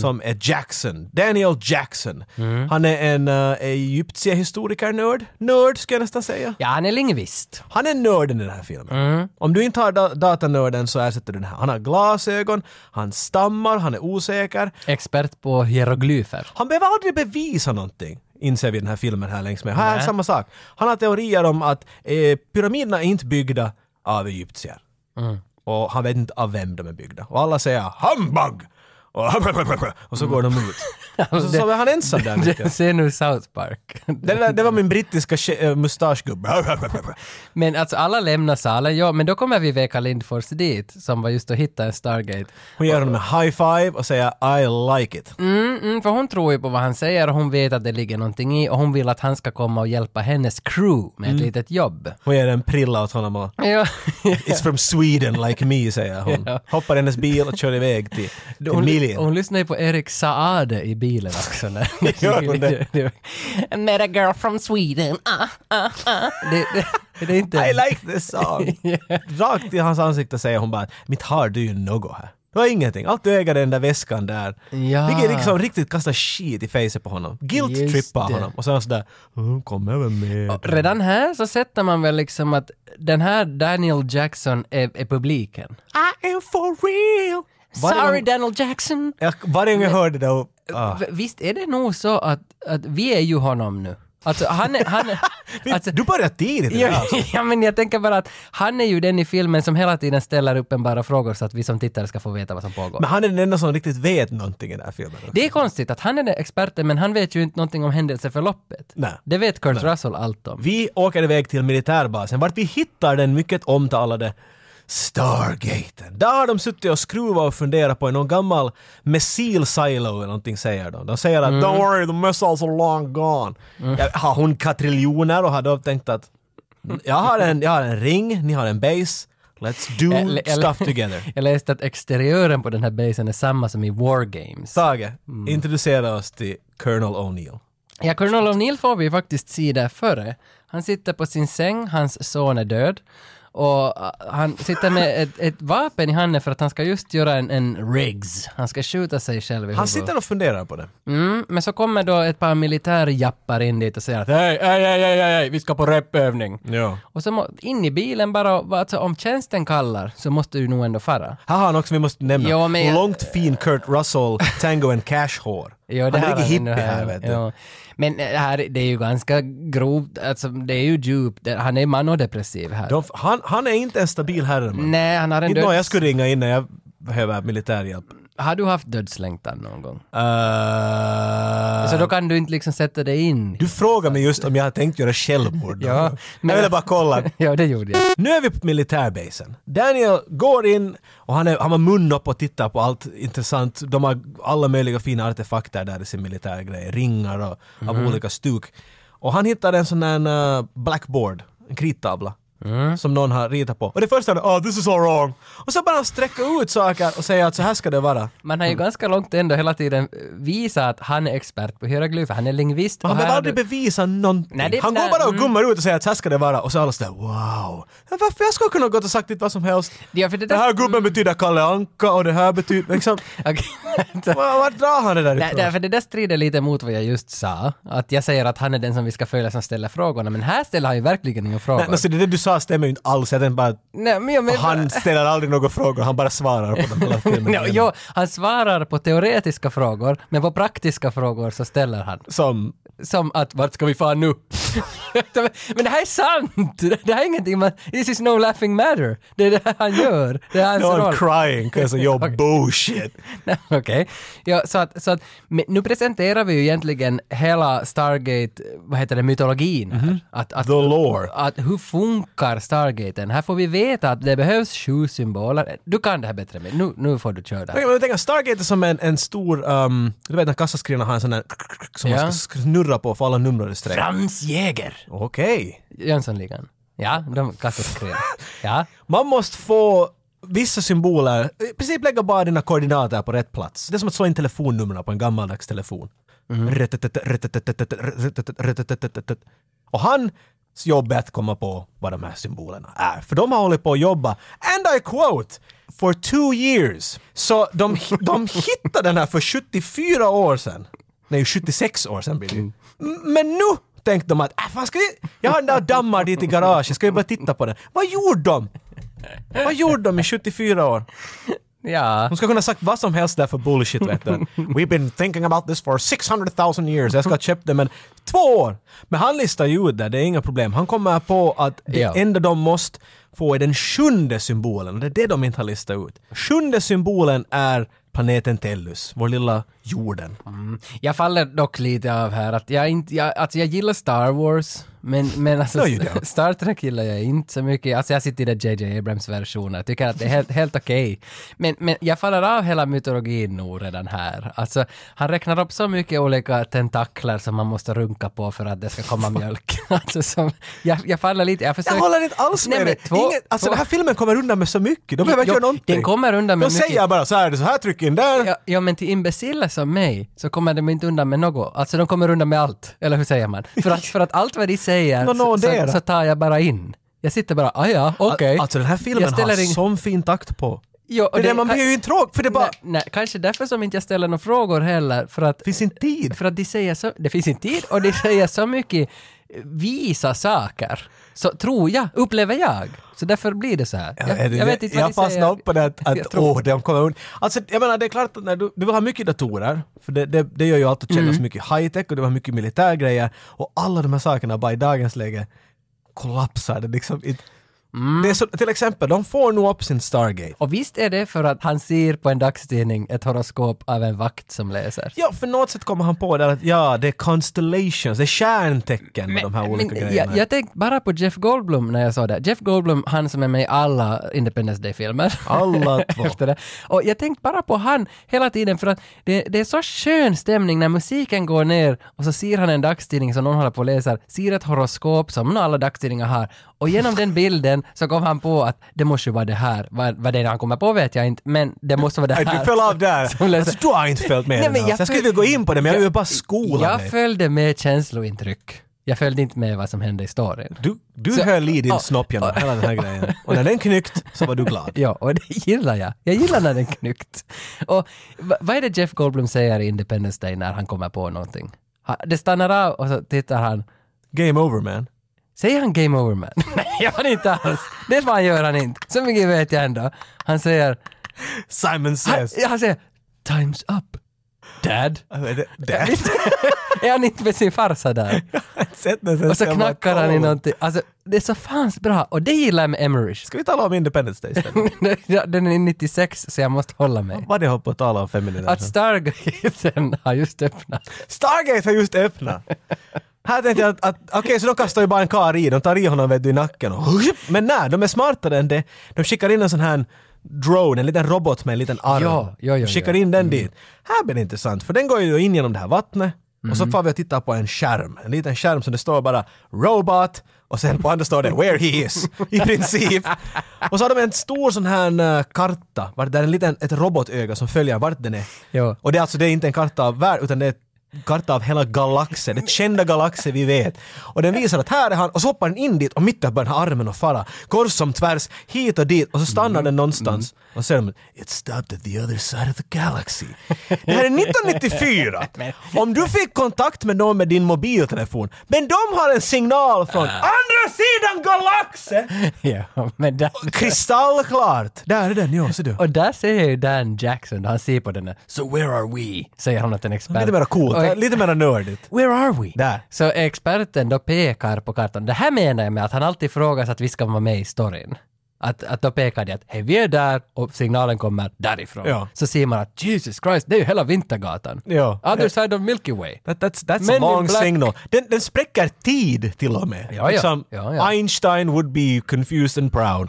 C: som är Jackson. Daniel Jackson. Han är en uh, egyptiehistoriker-nörd. Nörd, ska jag nästan säga.
B: Ja, han är lingvist.
C: Han är nörden i den här filmen. Om du inte har da- datanörden så ersätter du den här. Han har glasögon, han stammar, han är osäker.
B: Expert på hieroglyfer.
C: Han behöver aldrig bevisa någonting, inser vi i den här filmen här längs med. Här är samma sak. Han har teorier om att eh, pyramiderna är inte byggda av egyptier.
B: Mm.
C: Och han vet inte av vem de är byggda. Och alla säger “humbug!” och, och så går de ut. Och så, så är han ensam där. mycket.
B: Se nu South Park.
C: Det, där- det var min brittiska tje- eh, mustaschgubbe.
B: Men alltså alla lämnar salen, ja men då kommer Viveka Lindfors dit som var just att hitta en Stargate.
C: Hon gör honom en high five och säger “I like it”.
B: Mm, mm, för hon tror ju på vad han säger och hon vet att det ligger någonting i och hon vill att han ska komma och hjälpa hennes crew med ett
C: Mm.
B: litet jobb.
C: Hon ger en prilla åt honom och
B: Ja,
C: “It's from Sweden like me” säger hon. Hoppar i hennes bil och kör iväg till, till
B: hon,
C: Miljen.
B: hon lyssnar ju på Erik Saade i bilen också. När,
C: Gör hon det?
B: Met a girl from Sweden, ah, ah, ah. Det, det, det är inte...
C: I like this song! Rakt i hans ansikte säger hon bara “Mitt har du ju något här?” Du har ingenting. Allt du äger är den där väskan där.
B: Ja.
C: Vilket liksom riktigt kastar shit i facet på honom.
B: Just
C: Guilt-trippar
B: det.
C: honom. Och sen sådär "Mm, “Hon kommer väl med?”
B: Redan här så sätter man väl liksom att den här Daniel Jackson är, är publiken.
C: “I am for real!” Varje
B: Sorry
C: gång-
B: Daniel Jackson!
C: Jag- Varje gång jag hörde det och... Ah.
B: V- Visst är det nog så att, att vi är ju honom nu? Alltså han är... Han är alltså,
C: Du börjar tidigt.
B: ja, ja men jag tänker bara att han är ju den i filmen som hela tiden ställer uppenbara frågor så att vi som tittare ska få veta vad som pågår.
C: Men han är den enda som riktigt vet någonting i den här filmen.
B: Det är konstigt att han är den experten men han vet ju inte någonting om händelseförloppet.
C: Nej.
B: Det vet Kurt Russell allt om.
C: Vi åker iväg till militärbasen vart vi hittar den mycket omtalade Stargaten. Där har de suttit och skruvat och funderat på i någon gammal missil silo eller någonting säger de. De säger att “Don't worry, the missiles are long gone”.
B: Mm.
C: Ja, har hon katriljoner och har då tänkt att jag har, en, jag har en ring, ni har en base, let's do
B: Eller- eller-
C: stuff together.
B: Jag läste att exteriören på den här basen är samma som i War Games.
C: Tage,
B: Mm.
C: introducera oss till Colonel O'Neill.
B: Ja, Colonel O'Neill får vi ju faktiskt se där före. Han sitter på sin säng, hans son är död. Och äh, han sitter med ett, ett vapen i handen för att han ska just göra en, en rigs. Han ska skjuta sig själv i
C: Han
B: huvudet.
C: sitter och funderar på det.
B: Mm, men så kommer då ett par militärjappar in dit och säger att hej, hej, hej, hej, hej, vi ska på repövning.
C: Ja.
B: Och så må, in i bilen bara, och- alltså om tjänsten kallar så måste du nog ändå fara.
C: Här har han också, vi måste nämna,
B: Ja, men jag-
C: långt fin Kurt Russell, Tango and Cash-hår.
B: Ja, det
C: han är
B: har
C: riktigt
B: ändå
C: hippie
B: här,
C: här vet du.
B: Ja. Men eh, här, det är ju ganska grovt, alltså det är ju djupt, Det- han är manodepressiv här.
C: De, han, han är inte en stabil herre man.
B: Nej, han har en
C: Inte
B: döds...
C: någon jag skulle ringa in när jag behöver militärhjälp.
B: Har du haft dödslängtan någon gång?
C: Uh,
B: Så då kan du inte liksom sätta dig in.
C: du frågar mig just om jag har tänkt göra självmord.
B: Ja,
C: jag
B: men-
C: ville bara kolla.
B: Ja, det gjorde jag.
C: Nu är vi på militärbasen. Daniel går in och han, är, han har mun upp och tittar på allt intressant. De har alla möjliga fina artefakter där i sin militärgrej. Ringar och av olika stuk. Och han hittar en sån där eh, blackboard, en krittavla. Som någon har ritat på. Och det första är oh, “this is all wrong”. Och så bara sträcka ut saker och säga att så här ska det vara.
B: Man har ju ganska långt ändå hela tiden visat att han är expert på hieroglyfer, han är lingvist.
C: Han
B: och här
C: behöver
B: har
C: aldrig
B: du-
C: bevisa någonting.
B: Nej, det-
C: han går
B: nej,
C: bara och
B: mm.
C: gummar ut och säger att så här ska det vara. Och så alla sådär “wow”. Varför jag skulle kunna gått och sagt dit vad som helst.
B: Ja, för det
C: Den här
B: där... mm.
C: gubben betyder Kalle Anka och det här betyder liksom...
B: Okej.
C: Var, var drar han det där
B: Nej,
C: ifrån?
B: därför det där strider lite mot vad jag just sa. Att jag säger att han är den som vi ska följa som ställer frågorna, men här ställer han ju verkligen inga frågor.
C: Nej, alltså, det, det du sa stämmer ju inte alls. Jag tänkte bara att
B: Nej, men jag menar...
C: han ställer aldrig några frågor, han bara svarar på dem hela tiden.
B: Ja, jo, han svarar på teoretiska frågor, men på praktiska frågor så ställer han.
C: Som...
B: Som att vart ska vi fan nu? Men det här är sant! Det här är ingenting man... This is no laughing matter. Det är det här han gör. Det är hans
C: No, I'm
B: roll.
C: crying 'cause of your bullshit.
B: Nej, Okej. Ja, så att, så att, men nu presenterar vi ju egentligen hela Stargate, vad heter det, mytologin här. Att, att,
C: Mhm. The lore.
B: Att hur funkar hackar Stargaten. Här får vi veta att det behövs sju symboler. Du kan det här bättre men nu, nu får du köra.
C: Okej, men jag tänker, Stargate är som en, en stor, um, du vet när kassaskrivarna har en sån där som
B: Ja.
C: man ska snurra på för alla numrar i sträck.
B: Frans Jäger!
C: Okej. Jönssonligan.
B: Ja, de kassaskrev. Ja.
C: Man måste få vissa symboler, i princip lägga bara dina koordinater på rätt plats. Det är som att slå in telefonnumren på en gammaldags telefon. Retetetet, retetetet, retetetet, retetetet. Och han jobb är att komma på vad de här symbolerna är. För de har hållit på att jobba, and I quote, for two years. Så de, de hittade den här för 74 år sedan. Nej, 76 år sedan blir det ju. M- Men nu tänkte de att, äh, fan ska vi... Jag har den där dammar dit i garaget, ska vi bara titta på den? Vad gjorde de? Vad gjorde de i 74 år?
B: ja.
C: De ska kunna ha sagt vad som helst där för bullshit vet du. We've been thinking about this for 600,000 years. Jag ska ha köpt det men två år! Men han listar ju ut det, det är inga problem. Han kommer på att det
B: Ja.
C: enda de måste få är den sjunde symbolen. och Det är det de inte har listat ut. Sjunde symbolen är planeten Tellus, vår lilla jorden.
B: Jag faller dock lite av här att jag inte, jag, alltså jag gillar Star Wars, men, men alltså
C: No, you don't.
B: Star Trek gillar jag inte så mycket. Alltså jag sitter i den JJ Abrams-versionen, jag tycker att det är helt, helt okej. Men, men jag faller av hela mytologin nog redan här. Alltså han räknar upp så mycket olika tentakler som man måste runka på för att det ska komma mjölk. Alltså som, jag, jag faller lite, jag försöker...
C: Jag håller inte alls med
B: Nej, men
C: dig! Inget- alltså den här filmen kommer undan med så mycket, de behöver inte
B: Jo,
C: göra någonting.
B: den kommer undan med
C: de
B: mycket.
C: säger bara så här, så här tryck in där.
B: Ja, ja, men till imbeciller som mig så kommer de inte undan med något. Alltså de kommer undan med allt. Eller hur säger man? För att, för att allt vad de säger
C: Nå, nå,
B: så,
C: det är
B: så,
C: det.
B: så tar jag bara in. Jag sitter bara, ah ja, okej.
C: Alltså den här filmen
B: Jag ställer
C: har
B: ing-
C: sån fin takt på.
B: Jo, och
C: det, är det, man
B: kan-
C: blir ju inte tråkig för det är bara...
B: Nej, nej, kanske därför som inte jag ställer några frågor heller. För att,
C: finns inte tid.
B: för att de säger så, det finns inte tid och de säger så mycket visa saker. Så tror jag, upplever jag. Så därför blir det så här. Jag, jag vet inte vad
C: jag
B: de
C: fastnade
B: säger.
C: upp på det att,
B: Jag
C: att
B: tror-
C: åh, de kommer undan. Alltså, jag menar, det är klart att när du, du vill ha mycket datorer, för det, det, det gör ju allt att kännas
B: Mm.
C: mycket high-tech och du har mycket militärgrejer och alla de här sakerna bara i dagens läge kollapsar. Det liksom inte...
B: Mm.
C: Det är så, till exempel, de får nog upp sin Stargate.
B: Och visst är det för att han ser på en dagstidning ett horoskop av en vakt som läser.
C: Ja, för något sätt kommer han på där att ja, det är constellations, det är stjärntecken med de här olika
B: Men
C: grejerna.
B: jag, jag tänkte bara på Jeff Goldblum när jag sa det. Jeff Goldblum, han som är med i alla Independence Day-filmer.
C: Alla två.
B: Efter det. Och jag tänkte bara på han hela tiden för att det, det är så skön stämning när musiken går ner och så ser han en dagstidning som någon håller på och läser, ser ett horoskop som nog alla dagstidningar har och genom den bilden så kom han på att det måste ju vara det här. Vad, vad det är han kommer på vet jag inte, men det måste vara det
C: Nej,
B: här.
C: du föll av där.
B: Som läser-
C: Alltså, du har inte följt med
B: Nej,
C: den
B: men
C: alls.
B: jag
C: Jag skulle
B: föl-
C: vilja gå in på det, men jag vill bara skola
B: Jag
C: dig.
B: följde med känslointryck. Jag följde inte med vad som hände i storyn.
C: Du, du
B: Så-
C: höll i din
B: ja.
C: snopp genom hela den här grejen. Och när den knyckt så var du glad.
B: Ja, och det gillar jag. Jag gillar när den knyckt. Och v- vad är det Jeff Goldblum säger i Independence Day när han kommer på någonting? Ha- Det stannar av och så tittar han.
C: Game over man.
B: Säger han Game Over Man? Nej, gör han inte alls. Det fan gör han inte. Så mycket vet jag ändå. Han säger...
C: Simon
B: Han,
C: says.
B: han säger Time's up. Dad?
C: Äh, det- Det
B: är han inte med sin farsa där? Och så knackar han i någonting. Alltså, det är så fans bra. Och det gillar jag med Emmerich.
C: Ska vi tala om Independence Day istället?
B: Ja, Den är 96 så jag måste hålla mig.
C: Vad det höll på att tala om feminina.
B: Att Stargaten har just öppnat.
C: Stargate har just öppnat! Här tänkte jag att, att okej, så de kastar ju bara en kar i, de tar i honom vet du, i nacken och Men nej, de är smartare än det. De skickar in en sån här drone, en liten robot med en liten arm.
B: Ja, ja, Mm. ja,
C: de skickar
B: ja.
C: in den dit. Här blir det intressant, för den går ju in genom det här vattnet och
B: Mm.
C: så får vi och titta på en skärm, en liten skärm som det står bara “Robot” och sen på andra står det “Where he is” i princip. Och så har de en stor sån här eh, karta, vart det är en liten, ett robotöga som följer vart den är.
B: Ja.
C: Och det är alltså det är inte en karta av världen utan det är en karta av hela galaxen, den kända galaxen vi vet. Och den visar att här är han och så hoppar den in dit och mitt i början har armen och fara kors som tvärs hit och dit och så stannar den någonstans och sen “It stopped at the other side of the galaxy”. Det här är 1994! Om du fick kontakt med någon med din mobiltelefon men de har en signal från andra sidan galaxen!
B: Ja, men där,
C: Kristallklart! Där är den, ja, ser du.
B: och där säger ju Dan Jackson, han ser på den där “So where are we?” säger han åt en expert.
C: Lite mer coolt,
B: Och-
C: lite mer nördigt.
B: “Where are we?”
C: Där.
B: Så experten då pekar på kartan. Det här menar jag med att han alltid frågar så att vi ska vara med i storyn. Att, att då pekar de att hej, vi är där och signalen kommer därifrån.
C: Ja.
B: Så ser man att Jesus Christ, det är ju hela Vintergatan.
C: Ja.
B: Other side of Milky Way.
C: That, that's that's
B: Men
C: a
B: in
C: long
B: black.
C: signal. Den, den spräcker tid till och med. Liksom,
B: Ja, ja. Ja, ja.
C: Einstein would be confused and proud.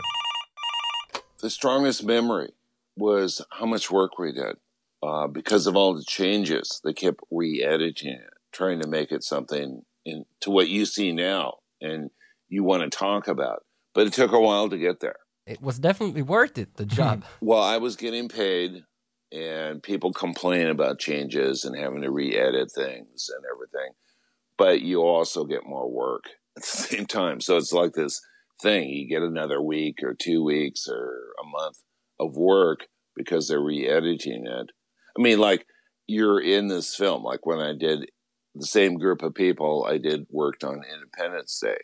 D: The strongest memory was how much work we did uh, because of all the changes. They kept re-editing it, trying to make it something in, to what you see now and you want to talk about. But it took a while to get there.
B: It was definitely worth it, the job.
D: Well, I was getting paid, and people complain about changes and having to re edit things and everything. But you also get more work at the same time. So it's like this thing you get another week or two weeks or a month of work because they're re editing it. I mean, like you're in this film. Like when I did the same group of people, I did worked on Independence Day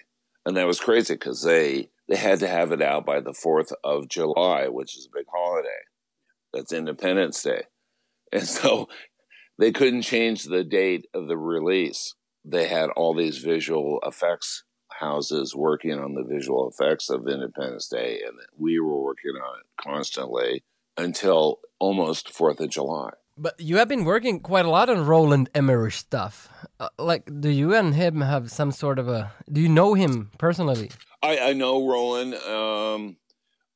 D: and that was crazy because they they had to have it out by the fourth of July, which is a big holiday. That's Independence Day, and so they couldn't change the date of the release. They had all these visual effects houses working on the visual effects of Independence Day, and we were working on it constantly until almost Fourth of July.
B: But you have been working quite a lot on Roland Emmerich stuff. Uh, like, do you and him have some sort of a? Do you know him personally?
D: I, I know Roland. Um,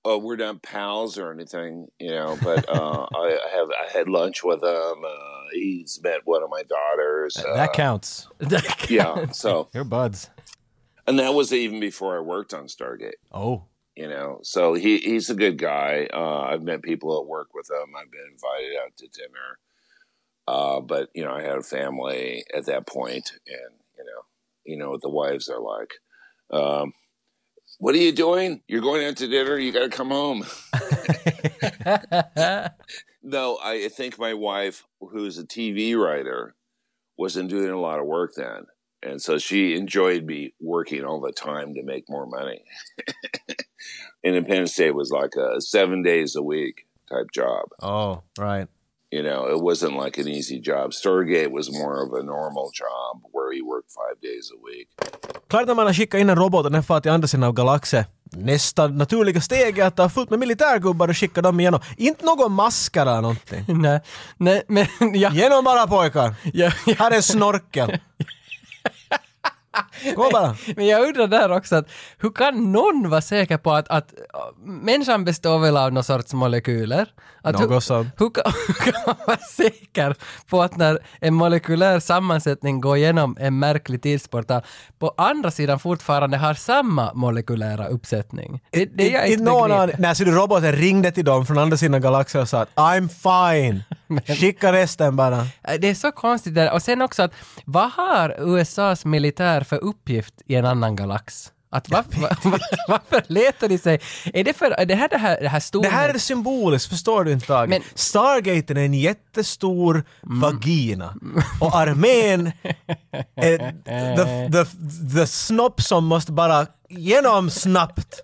D: uh, we're not pals or anything, you know, but uh, I I have I had lunch with him. Uh, he's met one of my daughters. Uh,
C: that counts.
D: yeah, so
C: Your buds.
D: and that was even before I worked on Stargate.
C: Oh.
D: You know, so he he's a good guy. Uh, I've met people that work with him. I've been invited out to dinner, uh, but you know, I had a family at that point, and you know, you know what the wives are like. Um, what are you doing? You're going out to dinner. You got to come home. No, I think my wife, who's a TV writer, wasn't doing a lot of work then. And so she enjoyed me working all the time to make more money. Independence Day was like a seven days a week type job.
C: Oh, right.
D: You know, it wasn't like an easy job. Stargate was more of a normal job where you worked five days a week.
C: Klart när man har skickat in en robot och den far till andra sidan av galaxen. Nästa naturliga steg är att ta fullt med militärgubbar och skicka dem igenom. Inte någon masker eller någonting.
B: nej, nej, men ja,
C: Genom bara pojkar.
B: ja, ja.
C: Här är snorkel. Gå bara.
B: Men jag undrar där också att hur kan någon vara säker på att, att äh, människan består väl av någon sorts molekyler? Att
C: Något
B: hur,
C: sånt.
B: Hur kan, hur kan man vara säker på att när en molekylär sammansättning går igenom en märklig tidsportal på andra sidan fortfarande har samma molekylära uppsättning? Det, det är jag
C: I- i
B: inte
C: någon
B: begriper.
C: annan- Nej, så du roboten ringde till dem från andra sidan galaxen och sa att I'm fine. Skicka resten bara.
B: Äh, Det är så konstigt där. Och sen också att vad har USAs militär för uppgift i en annan galax? Att var, var, var, varför letar de sig? Är det för, är det här det här, det här stora...
C: Det här är symboliskt, förstår du inte Tage?
B: Men- Mm.
C: Stargaten är en jättestor vagina och armén är the, the, the snopp som måste bara genom snabbt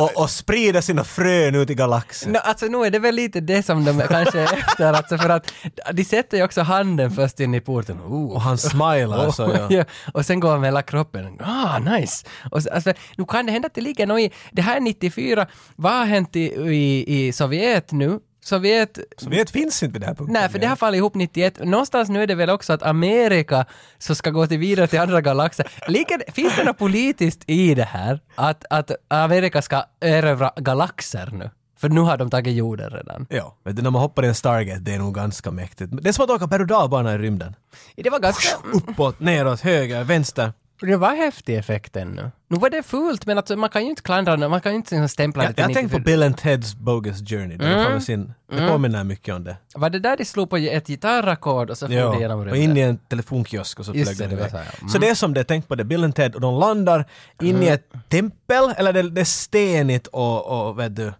C: och, och sprida sina frön ut i galaxen.
B: Nå, alltså nu är det väl lite det som de kanske är efter, alltså för att de sätter ju också handen först in i porten. Oh.
C: Och han smilar så ja.
B: Ja, och sen går han med hela kroppen. Ah, nice! Och så, alltså, nu kan det hända att det ligger något i... Det här är 94. Vad har hänt i, i, i Sovjet nu? Sovjet
C: Så det finns inte vid det här punkten.
B: Nej, för det har fallit ihop 91. Någonstans nu är det väl också att Amerika som ska gå till vidare till andra galaxer. Ligger, det- finns det något politiskt i det här? Att, att Amerika ska erövra galaxer nu? För nu har de tagit jorden redan.
C: Ja, men när man hoppar i en Stargate, det är nog ganska mäktigt. Det är som att åka berg och dalbana i rymden.
B: Det var ganska...
C: Uppåt, neråt, höger, vänster.
B: Det var häftig effekt ännu. Nu var det fult, men alltså, man kan ju inte klandra någon, man kan ju inte liksom stämpla det
C: Jag,
B: till
C: jag tänkte på
B: 94.
C: Bill and Teds Bogus Journey. Det,
B: Mm.
C: var fan med sin, det påminner mycket om det.
B: Var det där de slog på ett gitarrackord och så for det genom
C: och in i
B: rymden?
C: en telefonkiosk och så
B: Just
C: flög den
B: det, det var
C: iväg.
B: så, ja. Mm.
C: Så det är som det, tänk på det, Bill and Ted, och de landar in i ett tempel, eller det, det är stenigt och, och vet du,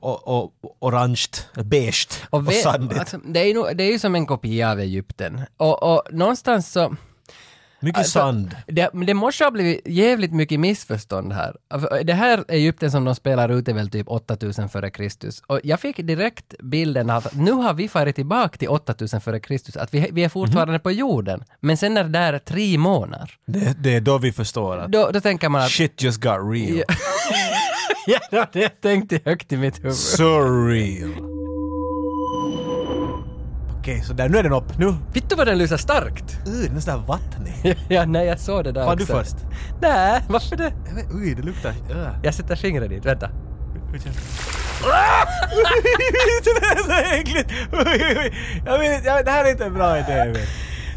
C: och, och, orange, beige och,
B: Mm. ve-
C: sandigt.
B: alltså, det, är ju, det är ju som en kopia av Egypten. Och, och någonstans så...
C: mycket
B: alltså-
C: sand.
B: Det, men det måste ha blivit jävligt mycket missförstånd här. För Det här Egypten som de spelar ut är väl typ 8000 före Kristus. Och jag fick direkt bilden av att nu har vi farit tillbaka till 8000 före Kristus, att vi, vi är fortfarande
C: Mhm.
B: på jorden. Men sen är det där tre månader.
C: Det, det är då vi förstår att
B: Då, då tänker man att
C: shit just got real.
B: ja, det var det jag tänkte högt i mitt huvud.
C: Surreal. Okej, så där, nu är den upp. Nu,
B: Vittu vad den lyser starkt!
C: uh, den är sådär vattnig.
B: ja, nej, jag såg det där
C: Var du
B: också.
C: först?
B: Nej, varför det?
C: Nej, men, Uj, det luktar... Uh.
B: Jag sätter fingret dit, vänta. Ah!
C: det är så äckligt! Uj, uj, uj. Jag vet, inte, jag vet, det här är inte en bra idé. jag vet.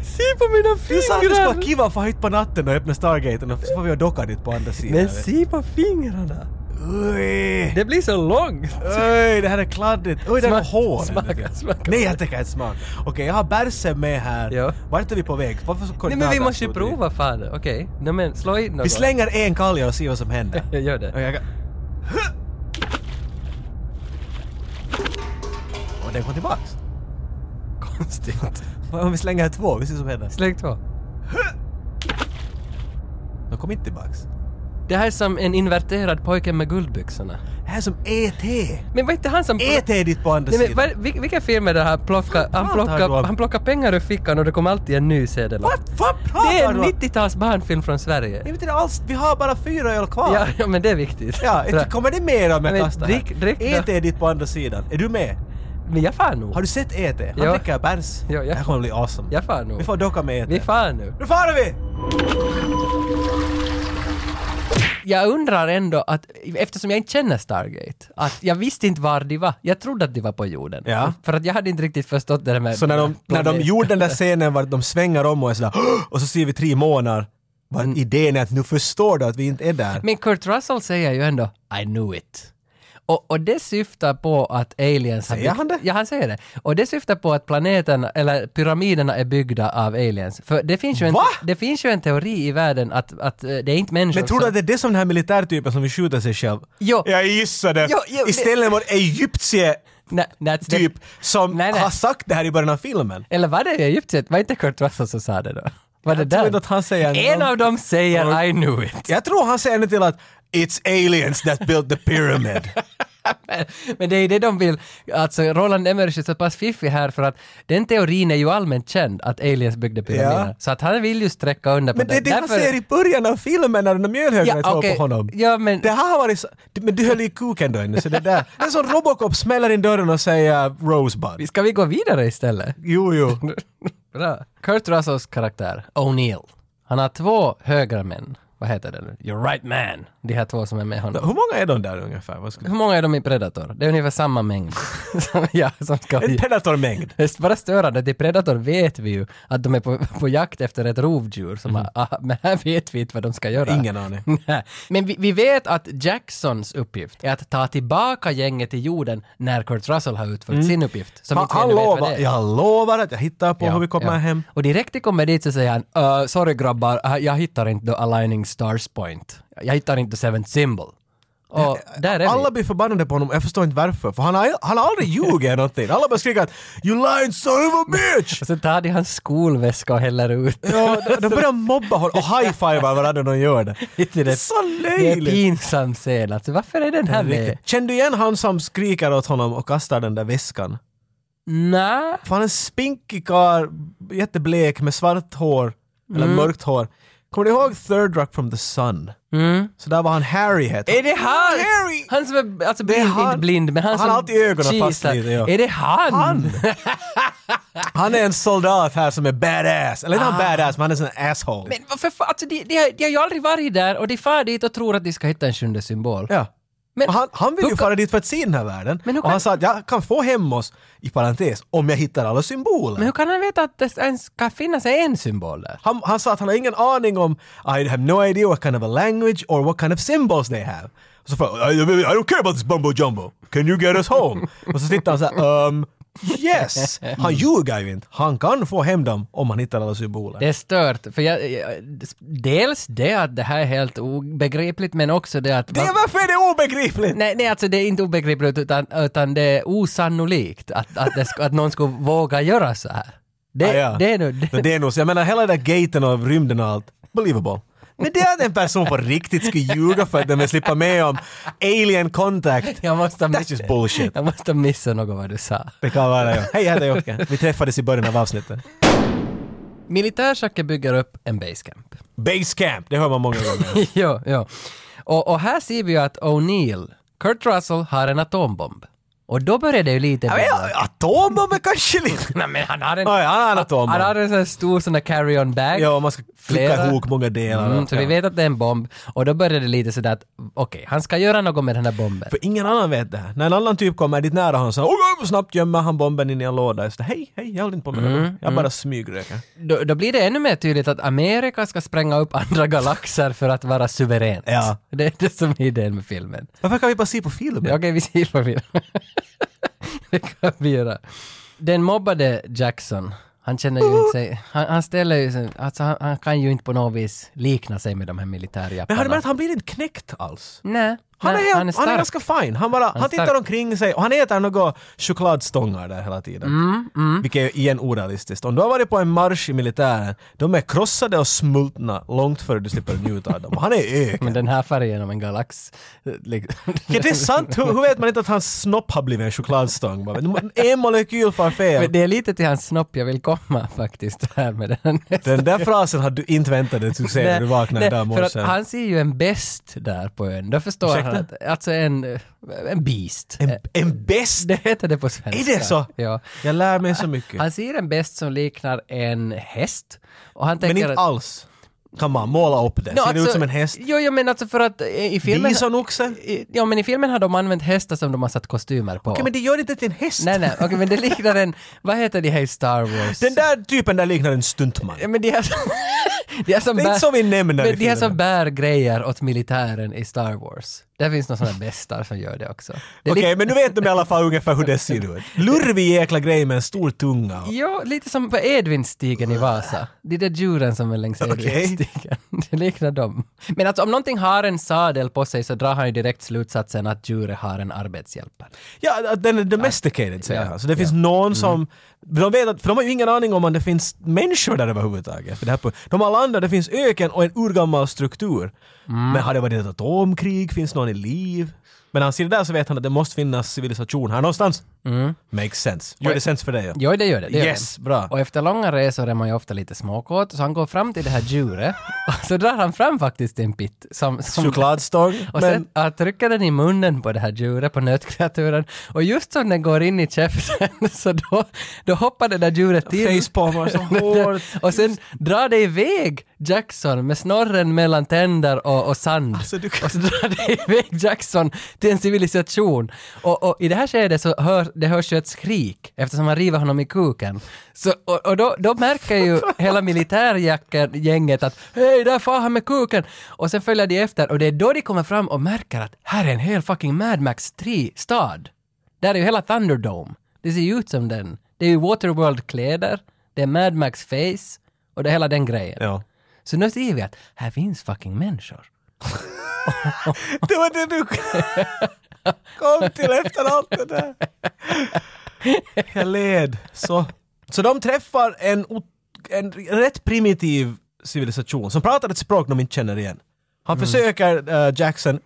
B: Se på mina
C: Du sa att du skulle vara
B: fingrar!
C: kiva för hit på natten och öppna Stargaten och så får vi ha dockan dit på andra sidan.
B: Men
C: jag vet.
B: se på fingrarna!
C: Uj!
B: Det blir så långt!
C: Oj, det här är kladdigt. Oj, det var
B: Smak-
C: hål.
B: smaka, smaka.
C: Nej, jag tänker inte smaka. Okej, jag har bärsen med här.
B: Ja.
C: Vart är vi på väg? Varför så
B: Nej men vi
C: koordinater
B: måste ju
C: stod vi?
B: prova fan, okej. Nej men slå in något.
C: Vi slänger en kalja och ser vad som händer.
B: Jag gör det.
C: Okej, jag kan... Och den kom tillbaks.
B: Konstigt.
C: Vad Om vi slänger två, vi ser vad som händer.
B: Släng två.
C: De kom inte tillbaks.
B: Det här är som en inverterad pojke med guldbyxorna.
C: Det här är som E E.T.
B: Men var inte han som...
C: E.T. är ditt på andra
B: Nej, men,
C: sidan.
B: vad- vil, vilken film är det här? Plocka, han,
C: pratar du om?
B: plockar, han plockar pengar ur fickan och det kommer alltid en ny sedel.
C: Vad vad
B: Det är
C: pratar
B: en
C: du om?
B: 90-tals barnfilm från
C: Det
B: Sverige.
C: är inte det alls. Vi har bara fyra öl kvar.
B: Ja, ja, men det är viktigt.
C: Ja,
B: Så-
C: inte kommer det mer om jag
B: Men
C: kastar
B: drick-
C: här?
B: drick då.
C: E.T. är ditt på andra sidan. Är du med?
B: Men jag far nu.
C: Har du sett E.T.? Han
B: Ja.
C: dricker bärs.
B: Ja, ja.
C: Det här kommer bli awesome.
B: Jag far nu.
C: Vi får docka med E.T.
B: Vi far nu.
C: Nu far vi!
B: Jag undrar ändå att, eftersom jag inte känner Stargate, att jag visste inte var de var. Jag trodde att de var på jorden.
C: Ja.
B: För att jag hade inte riktigt förstått det där med...
C: Så när de, när de gjorde den där scenen var de svänger om och är sådär "Åh!" och så ser vi tre månader. Var idén är att nu förstår du att vi inte är där.
B: Mm. Men Kurt Russell säger ju ändå I knew it. Och, och det syftar på att aliens... har
C: Säger han det?
B: Ja, han säger det. Och det syftar på att planeten, eller pyramiderna är byggda av aliens. För det finns ju en,
C: Va?
B: det finns ju en teori i världen att, att eh, det är inte människor
C: Men tror du
B: som-
C: att det är det som den här militärtypen som vill skjuta sig själv?
B: Jo.
C: Jag gissade!
B: Jo, jo, det-
C: Istället var det egyptier
B: Nej, nej, alltså det-
C: typ som
B: Nej, nej.
C: har sagt det här i början av filmen.
B: Eller var det i Egyptiet? Var inte Kurt Russell som sa det då? Var det
C: tror
B: där?
C: inte att han säger
B: en
C: någon-
B: av dem säger I knew it.
C: Jag tror han säger något till att It's aliens that built the pyramid.
B: Men, men det är det de vill. Alltså Roland Emmerich är så pass fiffig här för att den teorin är ju allmänt känd att aliens byggde pyramiderna.
C: Ja.
B: Så att han vill ju sträcka under på
C: Men det är det han
B: Därför-
C: säger i början av filmen när de där mjölhögarna
B: Ja,
C: tror
B: okej.
C: på honom.
B: Ja, men-
C: Det här har varit så... Men du höll i kuken då ännu, så det där... Det är som Robocop smäller in dörren och säger Rosebud.
B: Ska vi gå vidare istället?
C: Jo, jo.
B: Bra. Kurt Russells karaktär, O'Neill. Han har två högra män. Vad heter det nu? Your right man. De här två som är med honom.
C: Hur många är de där ungefär? Vad skulle...
B: Hur många är de i Predator? Det är ungefär samma mängd. som, ja, som ska
C: En predatormängd.
B: Det är bara störande att i Predator vet vi ju att de är på, på jakt efter ett rovdjur som har, ah, men här vet vi inte vad de ska göra.
C: Mhm. Ingen aning.
B: Nej. Men vi, vi vet att Jacksons uppgift är att ta tillbaka gänget till jorden när Kurt Russell har utfört sin uppgift. Som
C: Han,
B: inte vi
C: Mm.
B: ännu vet
C: han
B: vad
C: lovar,
B: det är.
C: jag lovar att jag hittar på
B: Ja,
C: hur vi kommer
B: ja.
C: hem.
B: Och direkt vi kommer dit så säger han "Uh, “Sorry grabbar, uh, jag hittar inte the aligning stars point. Jag hittar inte the seventh symbol”. Och där är
C: äh, Alla
B: vi.
C: blir förbannade på honom, jag förstår inte varför. För han har, han har aldrig ljugit någonting. Alla bara skriker att “You lying son of a bitch!”
B: Och så tar de hans skolväska och häller ut.
C: Ja, de, de börjar mobba honom och high-fivar varandra när de gör det.
B: Det
C: Det
B: är-
C: är så
B: Det är en
C: löjligt!
B: pinsam scen alltså. Varför är den här med?
C: Riktigt. Kände du igen han som skriker åt honom och kastar den där väskan?
B: Nej.
C: För han är en spinkig karl, jätteblek med svart hår, eller
B: Mm.
C: mörkt hår. Kommer du ihåg Third Rock from the Sun? Så där var han Harry hette
B: Mm. Är det han?
C: Harry!
B: Han som är, alltså
C: Det är
B: blind,
C: han.
B: inte blind, men han,
C: Han har
B: som...
C: alltid ögonen
B: kisar.
C: fast lite, ja.
B: Är det han?
C: Han! han är en soldat här som är badass. Eller inte han badass, men han är en sån här asshole.
B: Ah. Men varför fa- alltså de, de, har- de har ju aldrig varit där och de far dit och tror att de ska hitta en sjunde symbol.
C: ja.
B: Men
C: och han, han vill
B: hur
C: ju
B: kan-
C: fara dit för att se den här världen.
B: Men hur
C: och han
B: kan-
C: sa att jag kan få hem oss, i parentes, om jag hittar alla symboler.
B: Men hur kan han veta att det ens ska finnas en symbol där?
C: Han, han sa att han har ingen aning om I have no idea what kind of a language or what kind of symbols they have. Och så frågade I, I don't care about this bumbo jumbo. Can you get us home? Och så tittar han så här, um, yes! Han ljuger ju inte. Han kan få hem dem om han hittar alla symboler.
B: Det är stört, för jag, jag, dels det att det här är helt obegripligt men också det att...
C: Det är varför är det obegripligt?
B: Nej, nej, alltså det är inte obegripligt utan, utan det är osannolikt att, att, det, sk- att någon skulle våga göra så här. Det,
C: Ah, ja.
B: det är nog... det-
C: Men det är nog så. Jag menar hela den där gaten av rymden och allt. Believable. Men det är att en person på riktigt ska ljuga för att den vill slippa med om alien contact.
B: Jag måste ha
C: That's just bullshit.
B: Jag måste ha missat något vad du sa.
C: Det kan vara jag. Hej, jag heter Jocke. Vi träffades i början av avsnittet.
B: Militärschacken bygger upp en basecamp.
C: Base camp, det hör man många gånger.
B: jo, jo. Och, och här ser vi ju att O'Neill Kurt Russell har en atombomb. Och då börjar det ju lite...
C: Ja, men, Atombomb är kanske lite...
B: Nej, men han har en...
C: Ja, ja, han har en atombomb.
B: Han har en sån här stor sån där carry-on bag.
C: Ja, man ska
B: Flera.
C: klicka ihop många delar.
B: Mm, så vi vet att det är en bomb. Och då börjar det lite sådär att okej, han ska göra något med den här bomben.
C: För ingen annan vet det här. När en annan typ kommer dit nära han så här, "Åh, snabbt gömmer han bomben in i en låda. Jag säger, hej, hej, jag håller inte på med det.
B: Mm,
C: Jag bara smygröker.
B: Då, då blir det ännu mer tydligt att Amerika ska spränga upp andra galaxer för att vara suveränt.
C: Ja.
B: Det är det som är idén med filmen.
C: Varför kan vi bara se på filmen?
B: Ja, Okej, vi ser på filmen. det kan vi göra. Den mobbade Jackson, han känner ju inte sig... Han, han ställer ju sig... Alltså han, han kan ju inte på något vis likna sig med de här
C: Men har du
B: militärjapparna.
C: märkt att han blir inte knäckt alls?
B: Nej,
C: Han är,
B: nej,
C: helt, han, är
B: stark.
C: ganska fine. Han, bara, han, tittar
B: stark.
C: omkring sig och han äter några chokladstångar där hela tiden.
B: Mm,
C: Vilket är igen orealistiskt. Om du har varit på en marsch i militären, de är krossade och smultna långt före du slipper njuta av dem. Och han är öken.
B: Men den här färgen genom en galax. liksom.
C: Ja, det är sant! Hur, hur vet man inte att hans snopp har blivit en chokladstång? Bara, En molekyl far
B: Men
C: fel.
B: det är lite till hans snopp jag vill komma faktiskt här med den.
C: Den där frasen hade du inte väntat dig att du säga när du vaknade
B: Nej,
C: idag
B: för att
C: morse.
B: han ser ju en best där på ön. Då förstår
C: Ursäkta?
B: han att, alltså en, en beast.
C: En, en bäst!
B: Det heter det på svenska.
C: Är det så?
B: Ja.
C: Jag lär mig så mycket.
B: Han ser en best som liknar en häst. Och han
C: Men
B: tänker
C: inte
B: att-
C: alls. Kan man måla upp det?
B: No,
C: Ser det ut
B: alltså,
C: som en häst?
B: Jo, jo, men alltså för att eh, i filmen...
C: Bisonoxe?
B: I- Ja, men i filmen har de använt hästar som de har satt kostymer på.
C: Okej, men det gör inte till en häst.
B: Nej, nej, okej, men det liknar en... Vad heter de här i Star Wars?
C: Den där typen där liknar en stuntman.
B: Ja, men de här, de här som
C: Det är inte som vi nämner i
B: men de här
C: filmen.
B: som bär grejer åt militären i Star Wars. Där finns några sådana bästar som gör det också. Det är
C: Okej,
B: lite-
C: men nu vet de i alla fall ungefär hur det ser ut. Lurvig jäkla grej med en stor tunga.
B: Ja, lite som på Edvinstigen i Vasa. Det är där djuren som är längs Edvinstigen. Det liknar dem. Men alltså om någonting har en sadel på sig så drar han ju direkt slutsatsen att djuret har en arbetshjälpare.
C: Ja, att den är domesticated säger
B: Ja. Mm.
C: han. Så det finns någon som... De vet att, för de har ju ingen aning om om det finns människor där överhuvudtaget. För det här på, de har landat, det finns öken och en urgammal struktur.
B: Mm.
C: Men har det varit ett atomkrig? Finns någon i liv? Men när han ser det där så vet han att det måste finnas civilisation här någonstans.
B: Mm.
C: Makes sense. Gör det sense för dig? Ja.
B: Jo, det gör det. det gör
C: Yes,
B: det.
C: bra.
B: Och efter långa resor är man ju ofta lite småkåt, så han går fram till det här djuret och så drar han fram faktiskt en bit som... som
C: Chokladstång.
B: Och
C: men-
B: sen ja, trycker den i munnen på det här djuret, på nötkreaturen. Och just som den går in i käften så då, då hoppar det där djuret till.
C: Facepalmar så hårt.
B: och sen drar det iväg Jackson med snorren mellan tänder och, och sand.
C: Alltså, du kan-
B: Och så drar det iväg Jackson till en civilisation. Och, och i det här skedet så hör, det hörs ju ett skrik eftersom man river honom i kuken. Så, och och då, då märker ju hela militärgänget att hej, där far han med kuken! Och sen följer de efter och det är då de kommer fram och märker att här är en hel fucking Mad Max 3-stad. Där är ju hela Thunderdome. Det ser ju ut som den. Det är ju Waterworld-kläder, det är Mad Max face och det är hela den grejen.
C: ja.
B: Så nu ser vi att här finns fucking människor.
C: Det var det du kom till efter allt det där. Jag led. Så, så de träffar en, o- en rätt primitiv civilisation som pratar ett språk de inte känner igen. Han försöker eh, Jackson uh,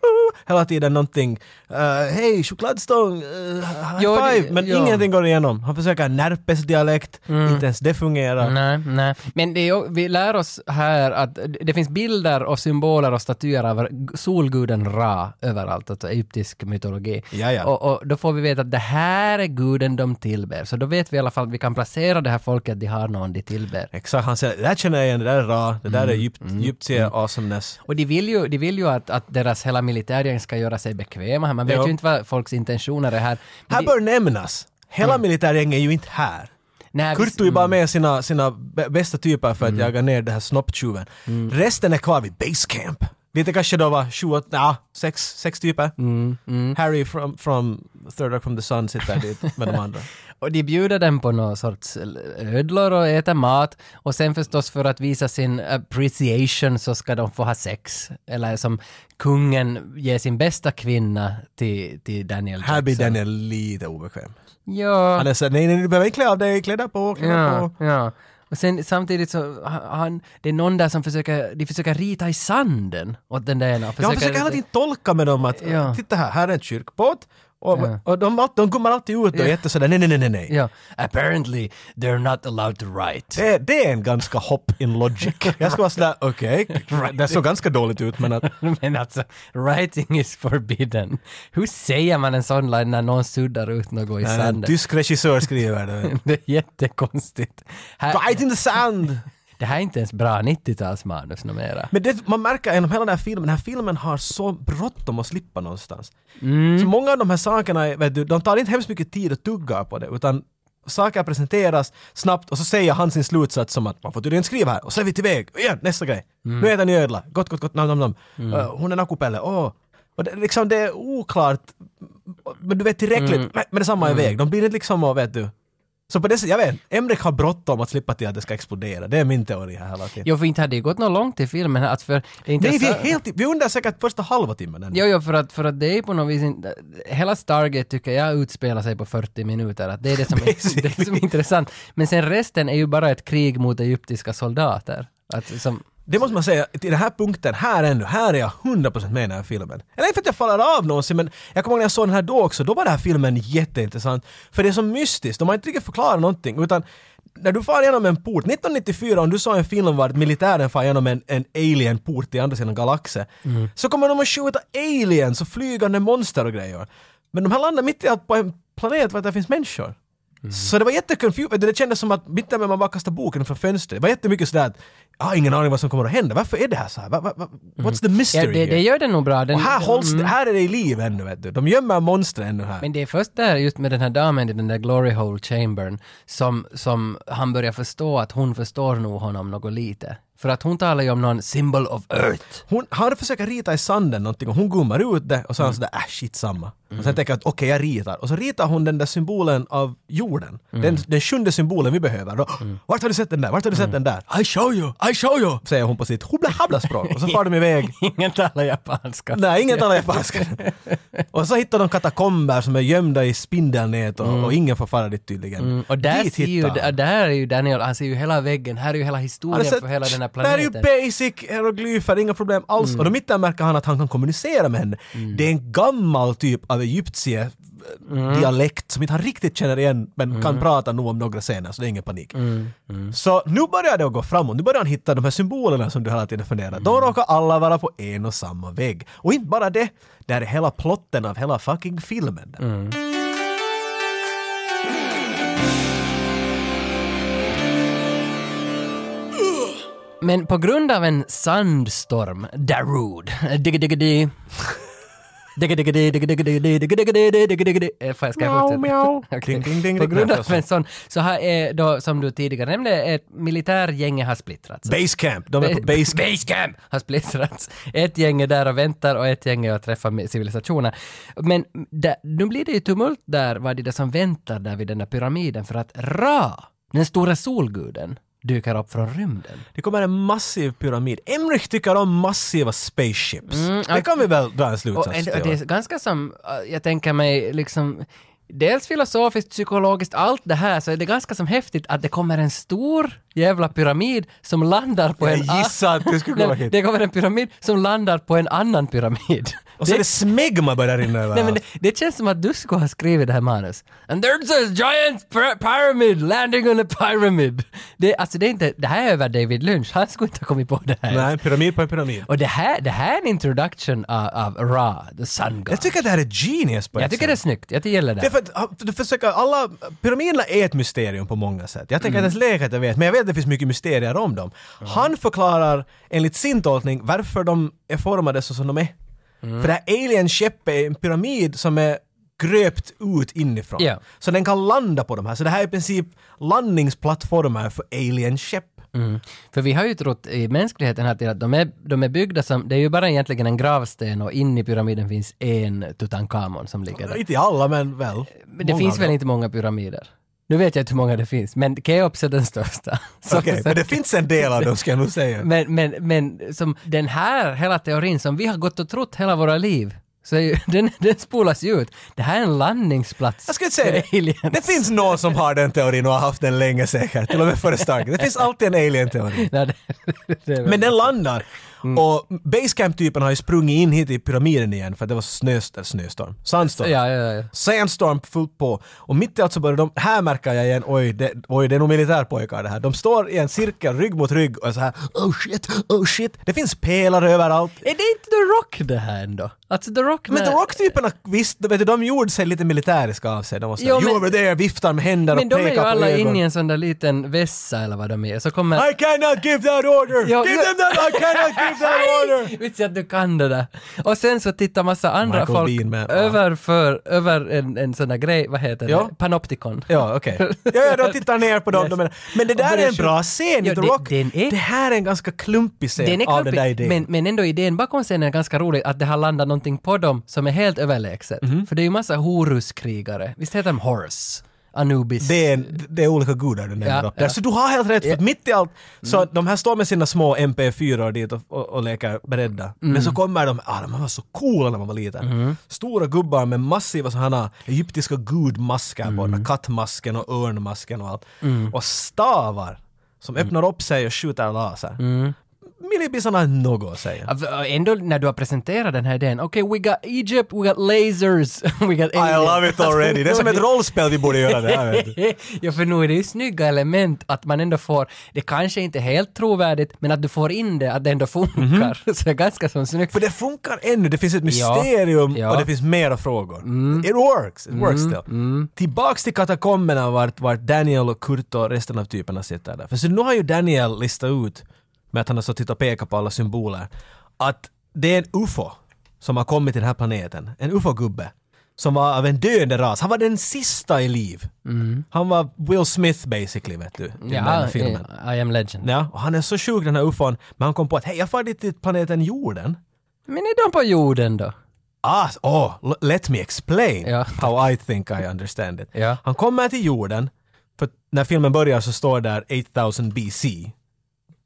C: hela tiden någonting. eh, Hej, chokladstång, uh, high
B: Jo, det-
C: five. men
B: ja.
C: ingenting går igenom. Han försöker närpesdialekt. Inte ens det fungerar.
B: Nej, nej. Men det är, ju- vi lär oss här att det finns bilder och symboler och statyer av solguden Ra överallt, alltså egyptisk mytologi.
C: Ja, ja.
B: Och, och då får vi veta att det här är guden de tillber. Så då vet vi i alla fall att vi kan placera det här folket, de har någon de tillber.
C: Exakt, han säger det där känner jag igen, det där är ra, det där är djupt, djupt ser jag awesomeness.
B: Och de vill ju, de vill ju att, att deras hela militärgäng ska göra sig bekväma här. Man vet
C: Ja.
B: ju inte vad folks intentioner är här. Men
C: Här
B: de-
C: bör nämnas, hela
B: Mm.
C: militärgänget är ju inte här.
B: nej, vi-
C: Kurttu är bara med sina, sina bä- bästa typer
B: Mm.
C: för att jaga ner den här snopptjuven. Resten är kvar vid base camp. Lite kanske då var sju, åt- nja, sex, sex typer.
B: Mm,
C: Harry from, from Third Rock from the Sun sitter dit med de andra.
B: Och de bjuder dem på någon sorts ödlor och äter mat. Och sen förstås för att visa sin appreciation så ska de få ha sex. Eller som kungen ger sin bästa kvinna till, till Daniel Jackson.
C: Här blir Daniel lite obekväm.
B: Ja,
C: Han är såhär, nej, nej du behöver inte klä av dig, klä dig på, klä dig
B: ja,
C: på.
B: ja. Och sen samtidigt så, han- han, det är någon där som försöker, de försöker rita i sanden åt den där ena. och
C: Jag försöker hela tiden tolka med dem att
B: Ja.
C: titta här, här är en kyrkbåt Och, och de, all- de kommer alltid ut och är jätte sådär nej, nej, nej, nej, nej.
B: Ja. Apparently they're not allowed to write.
C: Det, det är en ganska hopp in logic. Jag ska vara sådär, okej, det såg ganska dåligt ut men att
B: Men alltså, writing is forbidden. Hur säger man en sån line när någon suddar ut något i
C: en
B: sanden?
C: tysk regissör skriver det.
B: Det är jättekonstigt. Här,
C: Right in the sand!
B: det här är inte ens bra 90-talsmanus numera.
C: Men det, man märker genom hela den här filmen, den här filmen har så bråttom att slippa någonstans. Så många av de här sakerna, är- vet du, de tar inte hemskt mycket tid att tugga på det, utan saker presenteras snabbt och så säger han sin slutsats som att man får tydligen skriva här och så är vi till väg, och igen, nästa grej. Nu äter ni ödla, gott, gott, gott, nam, nam, nam. Eh, hon är nakupelle, åh. Och det, liksom, det är oklart, men du vet tillräckligt, men, men det är samma är väg. De blir inte liksom, och vet du. Så på det sättet, jag vet, Emmerich har bråttom att slippa till att det ska explodera. Det är min teori här hela tiden.
B: Jo, för inte hade det gått något långt i filmen. Att för det är
C: Nej, vi är
B: intressant-
C: helt... Vi undrar säkert första halva timmen än.
B: Jo, jo, för att, för att det är på något vis inte, hela Stargate tycker jag utspelar sig på 40 minuter, att det är det som är,
C: Basically.
B: det som är intressant. Men sen resten är ju bara ett krig mot egyptiska soldater. Att, som,
C: Det måste man säga, till den här punkten, här ännu, här är jag 100% med i den här filmen. Eller inte för att jag faller av någonsin, men jag kommer ihåg när jag såg den här då också, då var den här filmen jätteintressant. För det är så mystiskt, de har inte riktigt förklarat någonting, utan när du far genom en port, 1994 om du såg en film var militären far genom en, en alien-port i andra sidan galaxen, så kommer de att skjuta aliens och flygande monster och grejer. Men de här landar mitt i allt på en planet där det finns människor. Så det var jätteconfusing, det kändes som att mitt när man bara kastade boken från fönstret. Det var jättemycket sådär att jag har ingen aning vad som kommer att hända, varför är det här så här? Va, va, va, what's the mystery
B: Mm. ja, det, det
C: here?
B: gör det nog bra. Den,
C: Och här, hålls, det- här är det i liv ännu vet du, de gömmer monster ännu här.
B: Men det är först där, just med den här damen i den där glory hole chambern, som, som han börjar förstå att hon förstår nog honom något lite. För att hon talar ju om någon symbol of earth.
C: Hon, han försöker rita i sanden någonting och hon gummar ut det och
B: Mm.
C: så är han sådär äh shit samma. Och sen tänker jag att okej jag ritar och så ritar hon den där symbolen av jorden.
B: Mm.
C: Den, den sjunde symbolen vi behöver. Då, Vart har du sett den där? Vart har du sett
B: Mm.
C: den där? I show you! I show you! Säger hon på sitt hubla habla språk och så far de iväg
B: Ingen talar japanska.
C: Nej, ingen talar japanska. och så hittar de katakomber som är gömda i spindelnät och, och ingen får fara dit tydligen.
B: Mm. Och där,
C: Dit
B: ser ju,
C: hittar han.
B: där är ju Daniel, han ser ju hela väggen, här är ju hela
C: Han har
B: historien
C: sett-
B: för hela den här
C: Det här är ju
B: planeten. Mm.
C: basic hieroglyfer, inga problem alls. Och då mitt där märker han att han kan kommunicera med henne. Det är en gammal typ av egyptier eh,
B: Mm.
C: dialekt som inte han riktigt känner igen men kan prata nog om några scener så det är ingen panik.
B: Mm.
C: Så nu börjar det att gå framåt, nu börjar han hitta de här symbolerna som du hela tiden funderar. De
B: Mm.
C: råkar alla vara på en och samma vägg. Och inte bara det, där är hela plotten av hela fucking filmen.
B: Mm.
C: Där.
B: Men på grund av en sandstorm, Darude, digga-digga-di, digga-digga-di, digga-digga-di, digga-digga-di, digga-digga-di. Eh, Får jag ska jag fortsätta? Okej.
C: Ding, ding, ding,
B: På
C: ding.
B: grund
C: Nej,
B: av en sån, så här är då, som du tidigare nämnde, ett militärgänge har splittrats.
C: Basecamp, de är på basecamp.
B: Basecamp har splittrats. Ett gäng är där och väntar och ett gäng är och träffar med civilisationer. Men där, nu blir det ju tumult där, vad det är som väntar där vid den där pyramiden för att Ra, den stora solguden, dyker upp från rymden.
C: Det kommer en massiv pyramid. Emmerich tycker om massiva spaceships. det
B: Mm, att-
C: kan vi väl dra en
B: Och
C: slutsats
B: det,
C: till.
B: det är ganska som, äh, jag tänker mig liksom, dels filosofiskt, psykologiskt, allt det här, så är det ganska som häftigt att det kommer en stor jävla pyramid som landar på
C: Jag
B: en... a-
C: gissade att du skulle komma
B: Nej,
C: hit.
B: Det kommer en pyramid som landar på en annan pyramid.
C: Och så är det smegma börjar rinna
B: Nej, men
C: överallt.
B: det, det känns som att du skulle ha skrivit det här manus. And there's a giant py- pyramid landing on a pyramid. Det, alltså det, är inte, det här är över David Lynch, han skulle inte ha kommit på det här.
C: Nej, pyramid på en pyramid.
B: Och det här, det här är en introduction av, av Ra, the sun god.
C: Jag tycker att det här är genius på
B: Jag
C: ett
B: tycker det är
C: sätt.
B: snyggt, jag gillar det.
C: Det är för att ha- du försöker, alla, pyramiderna är ett mysterium på många sätt. Jag tänker
B: Mm.
C: inte ens leka att jag vet, men jag vet att det finns mycket mysterier om dem. Han förklarar enligt sin tolkning varför de är formade så som de är.
B: Mm.
C: För det här alien-skeppet är en pyramid som är gröpt ut inifrån.
B: Ja.
C: Så den kan landa på de här. Så det här är i princip landningsplattformar för alien-skepp.
B: Mm. För vi har ju trott i mänskligheten här till att de är, de är byggda som, det är ju bara egentligen en gravsten och in i pyramiden finns en Tutankhamon som ligger där.
C: Inte alla, men väl.
B: Men det
C: många av
B: finns väl
C: dem.
B: inte många pyramider? Nu vet jag inte hur många det finns, men Keops är den största. Så-
C: Okej, men det finns en del av dem ska jag nog säga.
B: men, men, men som den här hela teorin som vi har gått och trott hela våra liv Så är ju, den, den spolas ju ut. Det här är en landningsplats.
C: Jag skulle inte säga
B: för
C: det.
B: aliens.
C: Det finns någon som har den teorin och har haft den länge säkert, till och med före Stark. Det finns alltid en alien-teori.
B: Nej, det, det är väl-
C: Men den landar.
B: Mm.
C: Och Basecamp-typen har ju sprungit in hit i pyramiden igen för att det var snö, eller snöstorm, sandstorm.
B: ja, ja, ja.
C: Sandstorm fullt på. Och mitt i allt så börjar de, här märker jag igen, oj det, oj, det är nog militärpojkar det här. De står i en cirkel, rygg mot rygg och så här, oh shit, oh shit. Det finns pelare överallt.
B: Är det inte The Rock det här ändå? Alltså The Rock...
C: Men
B: när-
C: The Rock-typerna, visst, vet du, de gjorde sig lite militäriska av sig. De var såhär,
B: Jo,
C: you
B: men-
C: over there, viftar med händer
B: Men
C: och
B: de är ju
C: pekar på
B: alla
C: ögon.
B: inne i en sån där liten vässa eller vad de är. Så kommer...
C: I cannot give that order!
B: Ja, ja.
C: give them that, I cannot give that order!
B: Vits att du kan det där. Och sen så tittar massa andra
C: Michael
B: folk
C: Bean med, ja.
B: över, för, över en, en sån där grej, vad heter
C: Ja.
B: det? Panoptikon.
C: Ja, okej. Ja, ja, de tittar ner på dem.
B: Yes.
C: De menar, men det
B: Och
C: där
B: börjar
C: är en bra
B: skjuta.
C: scen i
B: Ja,
C: The
B: det-
C: Rock.
B: den är-
C: Det här är en ganska klumpig scen
B: Den är
C: av den där
B: klumpig,
C: idén.
B: men, men ändå idén bakom scenen är ganska rolig, att det har landat någonting på dem som är helt överlägset.
C: Mhm.
B: För det är ju massa horuskrigare. Visst heter de Horus? Anubis?
C: Det är, en, det är olika gudar du nämner
B: Ja,
C: upp där.
B: ja. Mm.
C: Så du har helt rätt, för att mitt i allt, så att de här står med sina små MP4 dit och, och, och leker beredda.
B: Mm.
C: Men så kommer de, ah de var så coola när man var liten. Stora gubbar med massiva sådana egyptiska gudmasker på,
B: Mm.
C: den här kattmasken och örnmasken och allt. Och stavar som
B: Mm.
C: öppnar upp sig och skjuter laser. Mm. Millibisarna har något att säga.
B: Av- av- Ändå när du har presenterat den här idén, okej we got Egypt, we got lasers, we got Alltså,
C: I love it already! Det är som ett rollspel vi borde göra det här vet du.
B: ja, för nu är det ju snygga element att man ändå får, det kanske inte är helt trovärdigt, men att du får in det, att det ändå funkar. Så det är ganska som snyggt.
C: Mhm. För det funkar ännu, det finns ett mysterium
B: Ja. Mm.
C: och det finns mera frågor. It works, it works still. Tillbaks till katakomberna vart, vart Daniel och Kurt och resten av typerna sitter där. För så nu har ju Daniel listat ut, med att han har suttit och pekat på alla symboler, att det är en ufo som har kommit till den här planeten. En ufo-gubbe. Som var av en döende ras. Han var den sista i liv. Han var Will Smith basically, vet du. I den här
B: Mm. Ja, eh,
C: filmen.
B: I am legend.
C: Ja, och han är så sjuk den här ufon, men han kom på att hej, jag far dit till planeten jorden.
B: Men är de på jorden då?
C: Ah, oh, l- let me explain
B: Ja.
C: how I think I understand it.
B: Ja.
C: Han kommer till jorden, för när filmen börjar så står där 8000 BC.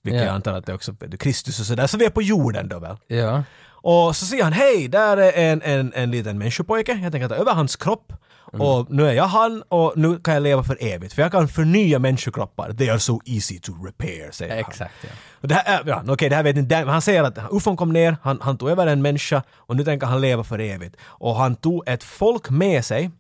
C: Vilket
B: Ja.
C: jag antar att det är också är Kristus och sådär, så vi är på jorden då väl.
B: Ja.
C: Och så säger han hej, där är en, en, en liten människopojke, jag tänker ta över hans kropp.
B: Mm.
C: Och nu är jag han och nu kan jag leva för evigt, för jag kan förnya människokroppar. They are so easy to repair, säger han.
B: Exakt, ja.
C: Och Det här, är- ja, okej, det här vet inte Dan, men han säger att ufon kom ner, han, han tog över en människa och nu tänker han leva för evigt. Och han tog ett folk med sig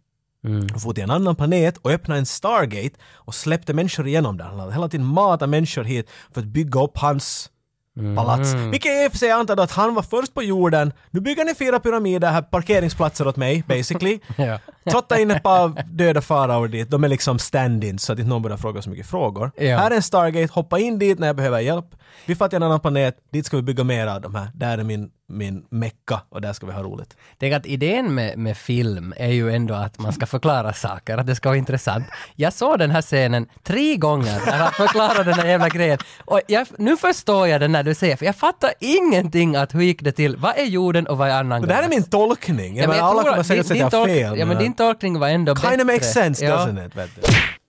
B: Mm.
C: och for till en annan planet och öppnade en Stargate och släppte människor igenom den. Han hade hela tiden matat människor hit för att bygga upp hans
B: Mm.
C: palats. Vilket jag i och för sig antar att han var först på jorden. Nu bygger ni fyra pyramider här, parkeringsplatser åt mig basically.
B: Ja.
C: Trotta in ett par döda faraor dit. De är liksom stand-ins så att inte någon börjar fråga så mycket frågor.
B: Ja.
C: Här är en Stargate, hoppa in dit när jag behöver hjälp. Vi fattar en annan planet, dit ska vi bygga mer av de här. Där är min, min mecka och där ska vi ha roligt.
B: Det är att idén med, med film är ju ändå att man ska förklara saker, att det ska vara intressant. Jag såg den här scenen tre gånger när han förklarade den här jävla grejen. Och jag, nu förstår jag den när du säger, för jag fattar ingenting att hur gick det till. Vad är jorden och vad är annan
C: Det här är min tolkning. Jag menar, alla kommer säkert säga att jag har fel.
B: Ja, men din tolkning var ändå bättre.
C: Kinda makes sense,
B: ja.
C: doesn't it? Vet du?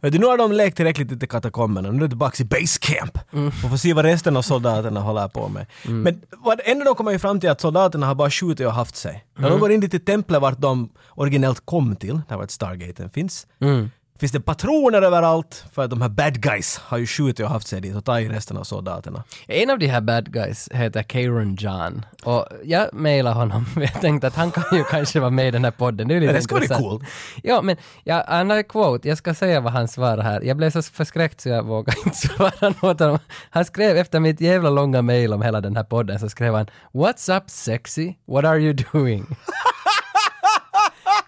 C: Vet du, nu har de lekt tillräckligt ute i katakomberna, nu är det tillbaka i base camp.
B: Mm.
C: Och får se vad resten av soldaterna håller på med. Men vad, ändå de kommer ju fram till att soldaterna har bara skjutit och haft sig. När
B: Mm.
C: de går in dit i templet vart de originellt kom till, där vart Stargaten finns,
B: Mm.
C: finns det patroner överallt för att de här bad guys har ju skjutit och haft sig dit och tagit resten av soldaterna.
B: En av de här bad guys heter Karen John och jag mejlade honom för jag tänkte att han kan ju kanske vara med i den här podden. Det, är lite
C: Det ska vara
B: intressant.
C: coolt.
B: Ja, men ja, han har quote, jag ska säga vad han svarar här. Jag blev så förskräckt så jag vågade inte svara något honom. Han skrev efter mitt jävla långa mejl om hela den här podden så skrev han “What's up sexy? What are you doing?”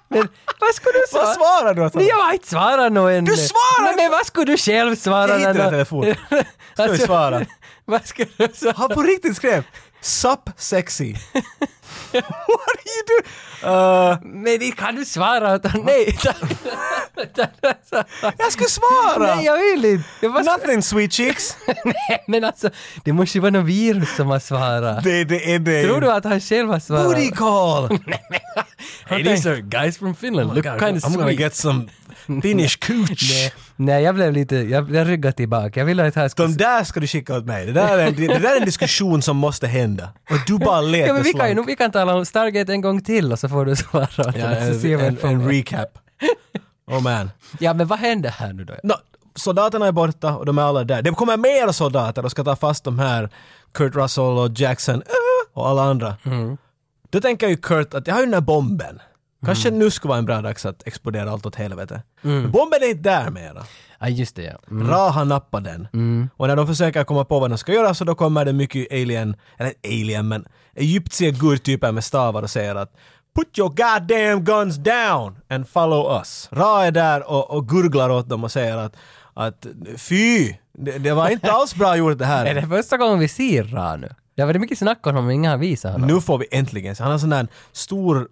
B: Men vad skulle du svara?
C: Vad svarar du? att han-
B: Nej, jag har inte svarat något ännu.
C: Du svarar
B: Nej, men vad skulle du själv svara?
C: Jag hittade
B: när du-
C: telefonen. Ska vi svara?
B: vad skulle du svara?
C: Han på riktigt skrev “Sup sexy”. What are you doing? Uh,
B: Men det kan du svara åt honom. Nej, tack.
C: jag ska svara!
B: Nej, jag vill inte. Jag bara,
C: Nothing sweet cheeks!
B: nej, men alltså, det måste ju vara något virus som har svarat.
C: Det, det är det
B: Tror du att han själv har svarat?
C: Booty call!
B: Hey, these are guys from Finland. Look kind of
C: Oh I'm gonna
B: sweet.
C: get some Finnish cooch.
B: Nej, jag blev lite, jag, jag ryggade tillbaka. Jag ville att här skulle...
C: De där ska du skicka åt mig. Det där är en, det där är en diskussion som måste hända. Och du bara leker
B: Ja, men vi kan ju
C: slank.
B: nog- vi kan tala om Stargate en gång till och så får du svara. så ser
C: Ja, en,
B: vi
C: en, en
B: vad-
C: recap. Oh man.
B: ja, men vad händer här nu då?
C: Nå, soldaterna är borta och de är alla där. Det kommer mer soldater och ska ta fast de här Kurt Russell och Jackson äh, och alla andra.
B: Mm.
C: Då tänker ju Kurt att jag har ju den här bomben. Kanske
B: Mm.
C: nu skulle vara en bra dags att explodera allt åt helvete. Men bomben är inte där mera.
B: Ja, just det ja. Mm.
C: Raha nappar den. Och när de försöker komma på vad de ska göra så då kommer det mycket alien, eller alien men egyptiska gudtyper med stavar och säger att Put your goddamn guns down and follow us. Ra är där och, och gurglar åt dem och säger att, att fy, det, det var inte alls bra gjort det
B: Är
C: här.
B: det första gången vi ser Ra nu? Det har varit mycket snack om honom men ingen har visat honom.
C: Nu får vi äntligen se. Han har sån där stor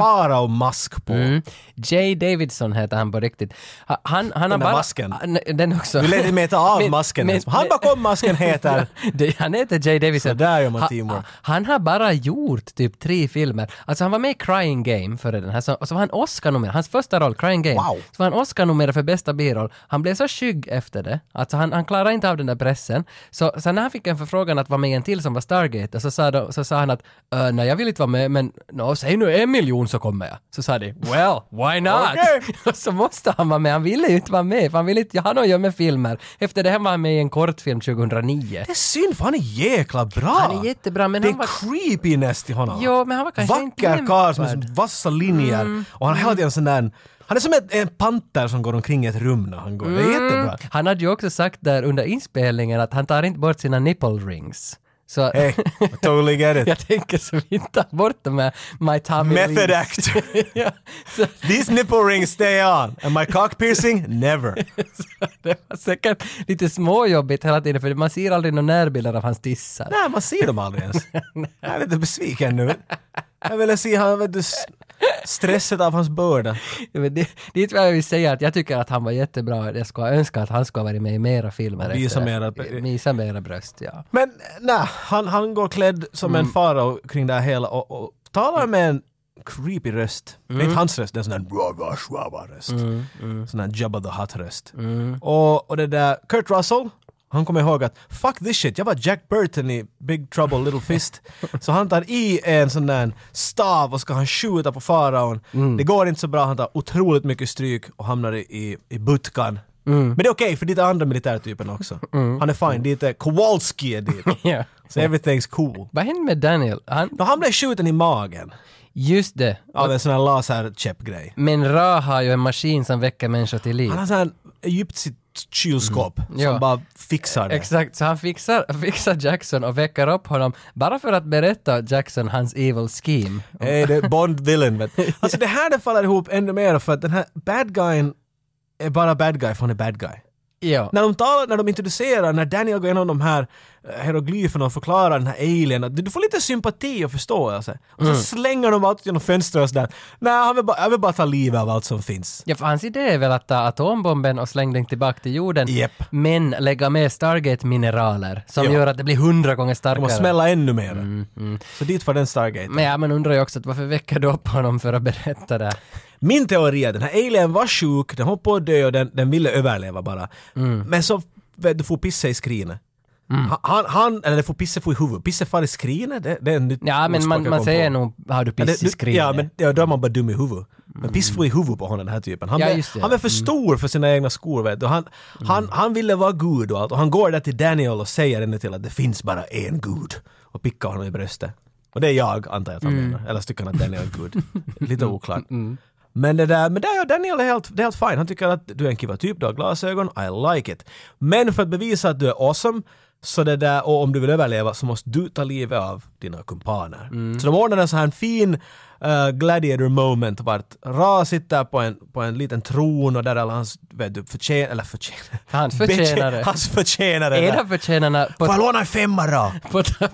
C: farao-mask på.
B: Mm. Jay Davidson heter han på riktigt. Ha- Han, han har
C: där
B: bara...
C: masken.
B: Han- Den också.
C: Vi lät mig ta av
B: Men-
C: masken.
B: men-
C: Han bakom masken heter...
B: Det- Han heter Jay Davison.
C: Så där gör man
B: Ha-
C: teamwork.
B: ha- Han, har bara gjort typ tre filmer. Alltså han var med i Crying Game före den här, så, och så var han Oscar-nominerad. Hans första roll, Crying Game,
C: Wow.
B: så var han Oscar-nominerad för bästa biroll. Han blev så skygg efter det. Alltså han, han klarade inte av den där pressen. Så, så när han fick en förfrågan att vara med i en till som var Stargate, så sa, då, så sa han att "Ö, nej jag vill inte vara med, men nå säg nu en miljon så kommer jag. Så sa de “Well, why not?”
C: Okej.
B: Och så måste han vara med. Han ville ju inte vara med, för han ville inte ha något att göra med filmer. Efter det här var han med i en kortfilm 2009.
C: Det är synd för han är jäkla bra.
B: Han är jättebra men
C: Det är
B: han var...
C: creepiness till honom.
B: Jo, men han var kanske inte Mm.
C: Vacker karl som
B: lämpad.
C: har vassa linjer. Och han har hela tiden sån där... Han är som ett, en panter som går omkring i ett rum när han går.
B: Mm.
C: Det är jättebra.
B: Han hade ju också sagt där under inspelningen att han tar inte bort sina nipple rings. Så
C: Hey, I totally get it.
B: jag tänker så vi tar bort de här My Tommy
C: Method
B: Lees.
C: actor.
B: ja, så
C: These nipple rings stay on. And my cock piercing, never.
B: det var säkert lite småjobbigt hela tiden för man ser aldrig några närbilder av hans tissar.
C: Nej, man ser dem aldrig ens. Jag är lite besviken nu. Jag ville se han, vet du, s- stresset av hans börda.
B: Men det, det är vad jag vill säga att jag tycker att han var jättebra. Jag skulle önska att han skulle ha varit med i mera filmer.
C: Visa
B: efter det.
C: mera-
B: Visa mera bröst, ja.
C: Men nej, han, han går klädd som en farao kring det här hela och, och talar med en creepy röst. Det är inte hans röst, det är en sån där bra schwaba röst. Sån där Jabba the Hutt röst. Och, och det där Kurt Russell, han kommer ihåg att fuck this shit, jag var Jack Burton i Big Trouble Little Fist. så han tar i en sån där stav och ska han skjuta på faraon. Det går inte så bra, han tar otroligt mycket stryk och hamnar i, i, i butkan.
B: Mm.
C: Men det är okej, för dit är andra militärtypen också. Han är fine, dit är Kowalski är dit.
B: ja.
C: Så everything's cool.
B: Vad hände med Daniel? Han,
C: Då han blev skjuten i magen
B: just det.
C: av en sån här laserkäppgrej.
B: Men Ra har ju en maskin som väcker människor till liv.
C: Han har sån här egyptiskt kylskåp
B: Mm. Ja.
C: som bara fixar det.
B: Exakt, så han fixar, fixar Jackson och väcker upp honom bara för att berätta Jackson hans evil scheme.
C: Hey, det är Bond villain. Men. Alltså det här det faller ihop ännu mer för att den här bad guyen är bara bad guy för han är bad guy.
B: Ja.
C: När de talar, när de introducerar, när Daniel går igenom de här eh, hieroglyferna och förklarar den här alien, att du du får lite sympati och förståelse. Och
B: Mm.
C: så slänger de allt genom fönstret och sådär. Nej, han vill bara, jag vill bara ta livet av allt som finns.
B: Ja, för hans idé är väl att ta atombomben och slänga den tillbaka till jorden,
C: Japp.
B: men lägga med Stargate-mineraler som
C: Ja.
B: gör att det blir hundra gånger
C: De måste
B: starkare.
C: smälla ännu mer. Så dit var den Stargate.
B: Mm, Men ja, man undrar ju också att varför väcker du upp honom för att berätta det?
C: Min teori är att den här alien var sjuk, den höll på att dö och den, den ville överleva bara.
B: Mm.
C: Men så vet du får pissa i skrinet. Ha- Han, han, eller det får pissa får i huvudet. Pissa far i skrinet, det, det är en nytt
B: Ja, men
C: ordspråk
B: man,
C: jag
B: man
C: kom
B: säger
C: på.
B: nog har du
C: Ja,
B: piss i
C: det-
B: skrinet.
C: Ja, men ja, då är man bara dum i huvudet. Men piss får i huvudet på honom den här typen. Han,
B: Ja,
C: blev-
B: just det. Mm.
C: han är för stor för sina egna skor vet du. Han, han, han ville vara gud och allt och han går där till Daniel och säger henne till att det finns bara en gud. Och pickar honom i bröstet. Och det är jag antar jag att han
B: Mm.
C: menar. Eller så tycker han att Daniel är gud. Lite oklart. Men det där, men där, är Daniel är helt, det är helt fine. Han tycker att du är en kiva typ, du har glasögon, I like it. Men för att bevisa att du är awesome, så det där, och om du vill överleva så måste du ta livet av dina kumpaner.
B: Mm.
C: Så de ordnar en sån här fin eh, gladiator moment vart Ra sitter på en, på en liten tron och där är alla hans, vet du, förtjän, eller förtjänare.
B: Hans förtjänare.
C: Hans förtjänare.
B: Är
C: där.
B: det förtjänarna på
C: Får jag låna en femma då?
B: på, ta-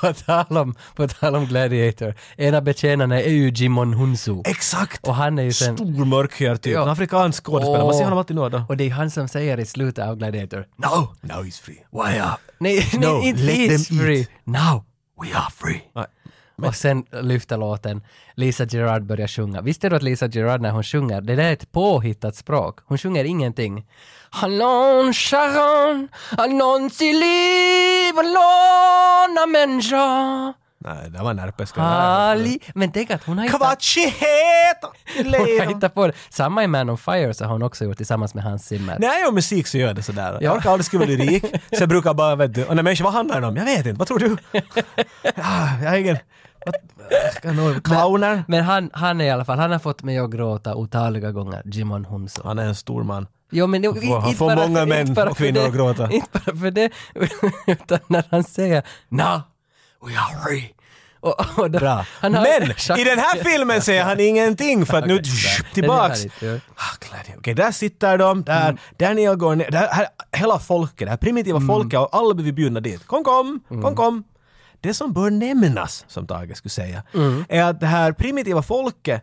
B: på, tal om, på tal om Gladiator, en av betjänarna är ju Jimon Hunsu.
C: Exakt!
B: Och han är ju sen...
C: Stor mörkhyad typ.
B: Ja.
C: En afrikansk skådespelare. Man ser
B: Åh.
C: honom alltid nu då.
B: Och det är han som säger i slutet av Gladiator.
C: No, now he's free. Why are...
B: Nej,
C: No,
B: nej, inte
C: let
B: is
C: them eat.
B: free. Now.
C: We are free.
B: Och sen lyfter låten, Lisa Gerard börjar sjunga. Visste du att Lisa Gerard när hon sjunger, det där är ett påhittat språk. Hon sjunger ingenting. Hallon Sharon, hallon Silib, hallon människa.
C: Nej, det var en RPS.
B: Ali. Men tänk att hon har hittat,
C: Kvachiheta!
B: hon har hittat på det. Samma i Man on Fire så har hon också gjort tillsammans med Hans Zimmer.
C: När jag gör musik så gör jag det sådär. Jag orkar aldrig skriva lyrik, så jag brukar bara, vet du, och när människor, vad handlar det om? Jag vet inte, vad tror du? ah, jag har ingen... Vad, ska jag nå- clowner?
B: Men han, han är i alla fall, han har fått mig att gråta otaliga gånger, Jimon Hunso.
C: Han är en stor man.
B: Jo, men nu,
C: får- han får många män och kvinnor
B: det,
C: att gråta.
B: Inte bara för det, utan när han säger ”Na, we are free”. Och, och då,
C: Bra.
B: han har-
C: Men
B: Exakt.
C: i den här filmen säger han ingenting för att nu
B: där.
C: tillbaks.
B: Den är härligt, Mm.
C: Ah, Gladys. Okej, där sitter de, där Daniel går ner, där, här, hela folket, det här primitiva folket och alla blir bjudna dit. Kom, kom,
B: Mm.
C: kom, kom. Det som bör nämnas, som Tage skulle säga,
B: Mm.
C: är att det här primitiva folket,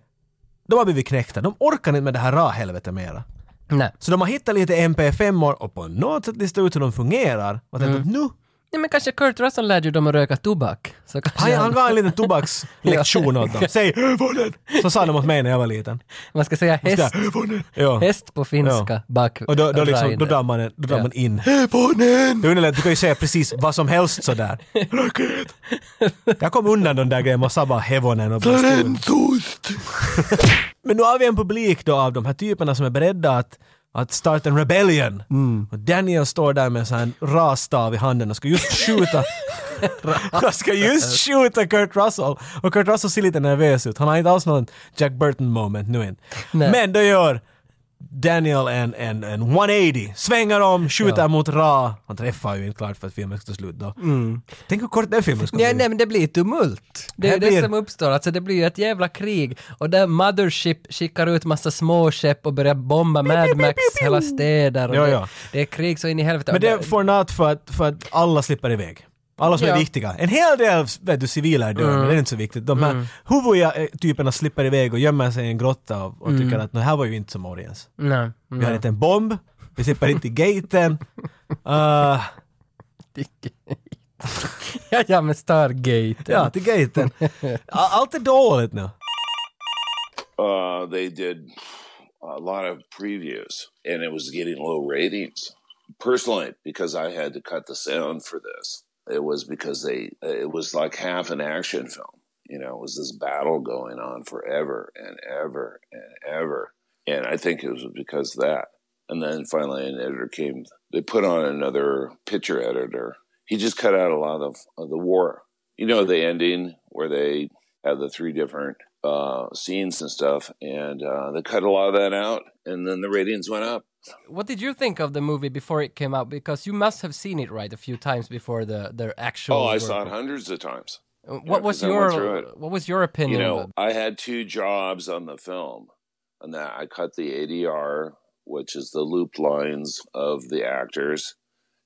C: de har blivit knäckta. De orkar inte med det här rahelvetet mera.
B: Nej.
C: Så de har hittat lite MP5-or och på något sätt listat ut hur de fungerar. Och tänkt att
B: Mm.
C: nu
B: Nej, men kanske Kurt Russell lärde ju dem att röka tobak. Så kanske
C: Han, han
B: han,
C: gav en liten tobakslektion åt dem. Säg övonen! Så sa de åt mig när jag var liten.
B: man ska säga
C: Så
B: häst,
C: där, "Övonen!" Ja.
B: häst på finska,
C: Ja.
B: bak.
C: Och då, då,
B: dra
C: liksom,
B: in
C: då
B: det.
C: drar man, en- då drar
B: Ja.
C: man in övonen! Det underlättar, du kan ju säga precis vad som helst sådär. Raket! Jag kom undan den där grejen och sa bara hevonen och bara Tarentost! Men nu har vi en publik då av de här typerna som är beredda att att starta en rebellion.
B: Mm.
C: Och Daniel står där med en sån här rastav i handen och ska just skjuta han ska just skjuta Kurt Russell. Och Kurt Russell ser lite nervös ut. Han har inte alls någon Jack Burton moment nu än.
B: Nej.
C: Men då gör Daniel en, en, en 180. Svänger om, skjuter mot Ra. Han träffar ju inte klart för att filmen ska ta slut då. Tänk hur kort den filmen ska
B: Mm. Nej,
C: bli.
B: nej, men det blir tumult. Det är
C: Det
B: ju det
C: blir-
B: som uppstår. Alltså det blir ju ett jävla krig. Och där Mothership skickar ut massa småskepp och börjar bomba Mad Max hela städer. Och
C: Ja,
B: det,
C: ja.
B: det är krig så in i helvete.
C: Men
B: Och
C: det får natt för att, för att alla slipper iväg. Alla som
B: Ja.
C: är viktiga. En hel del vet du, civila är döda, men det är inte så viktigt. De här huvudiga eh, typerna slipper iväg och gömmer sig i en grotta och, och tycker att det här var ju inte som audience.
B: Nej,
C: Vi har
B: nej.
C: inte en bomb, vi slipper inte i gaten. Uh,
B: Ja, ja, men Stargate.
C: ja, till gaten. A- Allt är dåligt nu.
D: uh, they did a lot of previews and it was getting low ratings personally because i had to cut the sound for this it was because they it was like half an action film you know it was this battle going on forever and ever and ever and i think it was because of that and then finally an editor came they put on another picture editor he just cut out a lot of, of the war you know the ending where they had the three different uh, scenes and stuff, and uh, they cut a lot of that out, and then the ratings went up.
B: What did you think of the movie before it came out? Because you must have seen it right a few times before the the actual.
D: Oh, I
B: work. Uh,
D: saw it hundreds of times. Yeah,
B: What was
D: 'cause I went through
B: your
D: it.
B: What was your opinion?
D: You
B: of
D: know,
B: it?
D: I had two jobs on the film, and that I cut the ADR, which is the looped lines of the actors,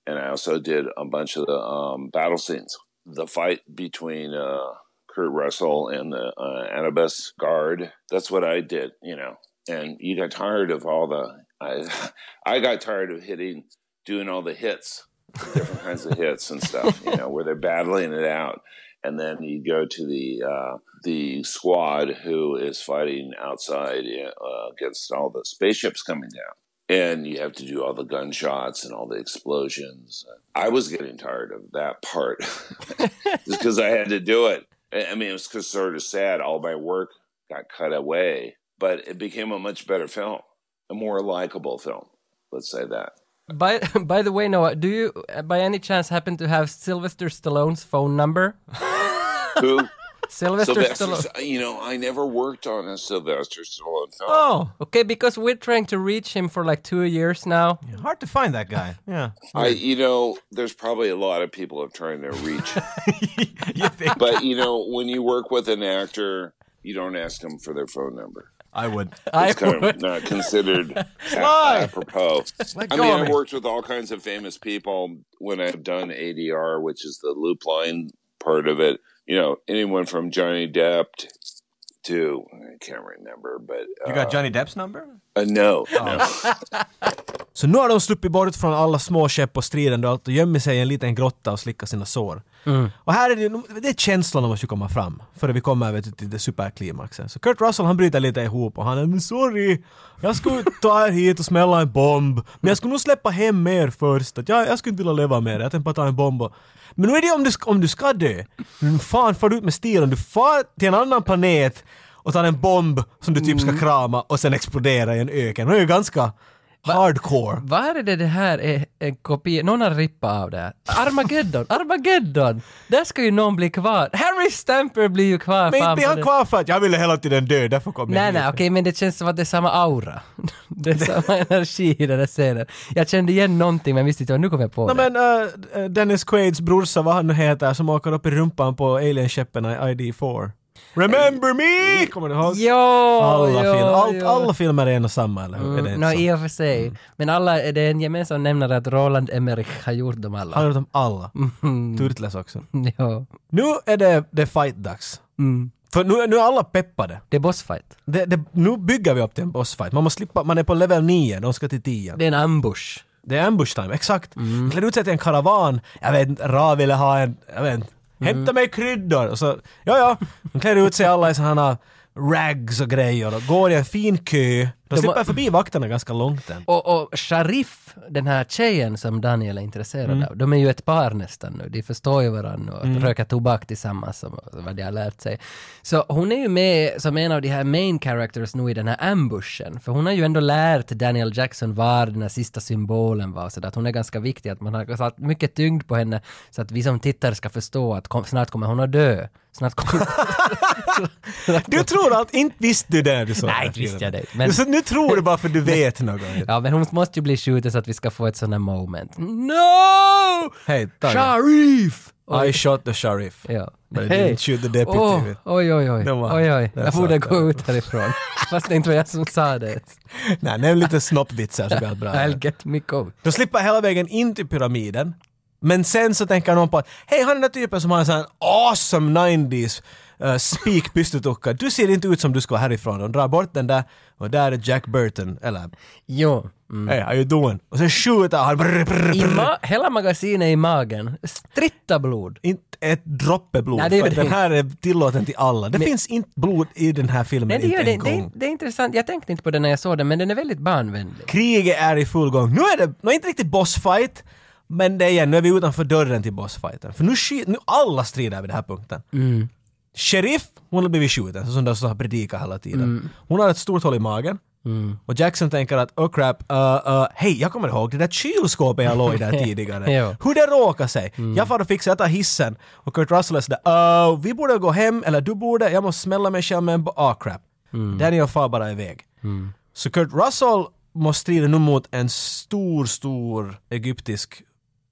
D: and I also did a bunch of the um, battle scenes. The fight between uh, Kurt Russell and the uh, Anubis guard. That's what I did, you know. And you got tired of all the. I, I got tired of hitting, doing all the hits, different kinds of hits and stuff, you know, where they're battling it out. And then you go to the uh, the squad who is fighting outside uh, against all the spaceships coming down, and you have to do all the gunshots and all the explosions. I was getting tired of that part just because I had to do it. I I mean, it was just sort of sad. All my work got cut away, but it became a much better film, a more likable film. Let's say that.
B: By By the way, Noah, do you uh, by any chance happen to have Sylvester Stallone's phone number?
D: Who?
B: Sylvester
D: Sylvester,
B: Stallone.
D: you know, I never worked on a Sylvester Stallone film.
C: Oh,
B: Okay, because we're trying to reach him for like two years now.
C: hard to find that guy. Yeah.
D: I, you know, there's probably a lot of people I'm trying to reach,
C: you think?
D: but you know, when you work with an actor, you don't ask them for their phone number.
C: I would.
B: I
D: It's kind
B: would-
D: of not considered a-
C: Why?
D: apropos. I
C: go
D: mean,
C: of
D: I've
C: me.
D: worked with all kinds of famous people when I've done ADR, which is the loop line part of it. You know, anyone from Johnny Depp t- to I can't remember, but uh,
C: Johnny Depp's number?
D: uh, no, no.
C: Så nu har de sluppit bort från alla små skepp och striden och allt och gömmer sig i en liten grotta och slickar sina sår. Och här är det, det är känslan de måste ju komma fram före vi kommer vet du, till det superklimaxen. Så Kurt Russell han bryter lite ihop och han är "Men “Sorry, jag skulle ta er hit och smälla en bomb, men jag skulle nog släppa hem er först, att jag, jag skulle inte vilja leva med er, jag tänkte bara ta en bomb och... Men nu är det om du, sk- om du ska dö, men fan far du ut med stilen, du far till en annan planet och tar en bomb som du typ
B: Mm.
C: ska krama och sen explodera i en öken. Det är ju ganska hardcore.
B: Var är det det här är en kopia? Någon har rippat av det här. Armageddon, Armageddon! Där ska ju någon bli kvar. Harry Stamper blir ju kvar.
C: Men
B: fan
C: inte blir
B: vad
C: han
B: det-
C: kvar för att jag ville hela tiden dö, därför kom jag
B: Nej,
C: hit.
B: nej, okej, men det känns som att det är samma aura. Det är samma energi i den där scenen. Jag kände igen någonting, men visste inte vad. Nu kom jag på det.
C: Nej, men eh, Dennis Quaids brorsa, vad han nu heter, som åker upp i rumpan på alienskeppen i ID4. Remember me! Kommer du ihåg?
B: Jo,
C: alla,
B: jo,
C: film, allt,
B: jo.
C: alla filmer är en och samma, eller hur? är det
B: Mm,
C: inte
B: no,
C: så?
B: i och för sig. Men alla, det är en gemensam nämnare att Roland Emmerich har gjort dem alla.
C: Har du dem alla?
B: Mm.
C: Turtles också.
B: ja.
C: Nu är det, det är fight-dags.
B: Mm.
C: För nu, nu är alla peppade.
B: Det är bossfight.
C: Det, det, nu bygger vi upp till en bossfight. Man måste slippa, man är på level 9, de ska till 10.
B: Det är en ambush.
C: Det är ambush time, exakt. Mm. Klär ut sig till en karavan. Jag vet inte, Ra ville ha en, jag vet inte.
B: Mm.
C: Hämta mig kryddor! Och så, ja ja. De klär ut sig alla i sådana rags och grejer och går i en fin kö. De slipper
B: var-
C: förbi vakterna ganska långt än.
B: Och, och Sharif, den här tjejen som Daniel är intresserad av, de är ju ett par nästan nu. De förstår ju varandra och röker tobak tillsammans, som vad de har lärt sig. Så hon är ju med som en av de här main characters nu i den här ambushen. För hon har ju ändå lärt Daniel Jackson var den här sista symbolen var, så att hon är ganska viktig. Att man har satt mycket tyngd på henne, så att vi som tittar ska förstå att kom, snart kommer hon att dö. Snart kommer...
C: Du tror att inte visste du det när du såg
B: Nej,
C: den här
B: inte visste
C: filmen.
B: jag det, men-
C: Så nu tror du bara för du vet något.
B: ja, men hon måste ju bli skjuten så att vi ska få ett sånt här moment. No!
C: Hej, Tage.
B: Sharif!
C: I shot the sheriff.
B: Ja.
C: But I didn't shoot the deputy.
B: Åh, oj, oj, oj.
C: Det var-
B: oj, oj.
C: där
B: Jag
C: sa
B: borde
C: jag
B: gå
C: det.
B: ut härifrån. Fast det inte var jag som sa det.
C: Nej, det är lite snoppvitsar som är bra.
B: I'll get me covered.
C: De slipper hela vägen in till pyramiden. Men sen så tänker någon på att hej, han är den där typen som har en sån här awesome 90s uh, speak pystetucka. Du ser inte ut som du ska härifrån. De drar bort den där och där är Jack Burton, eller
B: Jo.
C: hey, how you doing? Och så skjuter han. Brr, brr,
B: I
C: brr.
B: ma- hela magasinet i magen. Stritta blod.
C: Inte ett droppe blod.
B: Nej, det gör
C: för att
B: det
C: den här är tillåten till alla. Det finns inte blod i den här filmen,
B: Nej, det,
C: inte
B: gör det,
C: en
B: det,
C: gång.
B: är- det är intressant. Jag tänkte inte på den när jag såg den, men den är väldigt barnvänlig.
C: Kriget är i full gång. Nu är det, nu är det inte riktigt bossfight, men det är igen, nu är vi utanför dörren till bossfighten. För nu, sky- nu alla strider vid den här punkten. Sheriff, hon har blivit skjuten, så som de så har predikat hela tiden. Hon har ett stort hål i magen. Och Jackson tänker att oh crap, uh, uh, hej jag kommer ihåg det där kylskåpet jag låg i där
B: Jo.
C: tidigare. Hur det råkar sig. Jag far och fixar, jag tar hissen. Och Kurt Russell är sådär, uh, vi borde gå hem, eller du borde, jag måste smälla mig själv med en ba- oh crap. Daniel far bara iväg. Så Kurt Russell måste strida nu mot en stor, stor egyptisk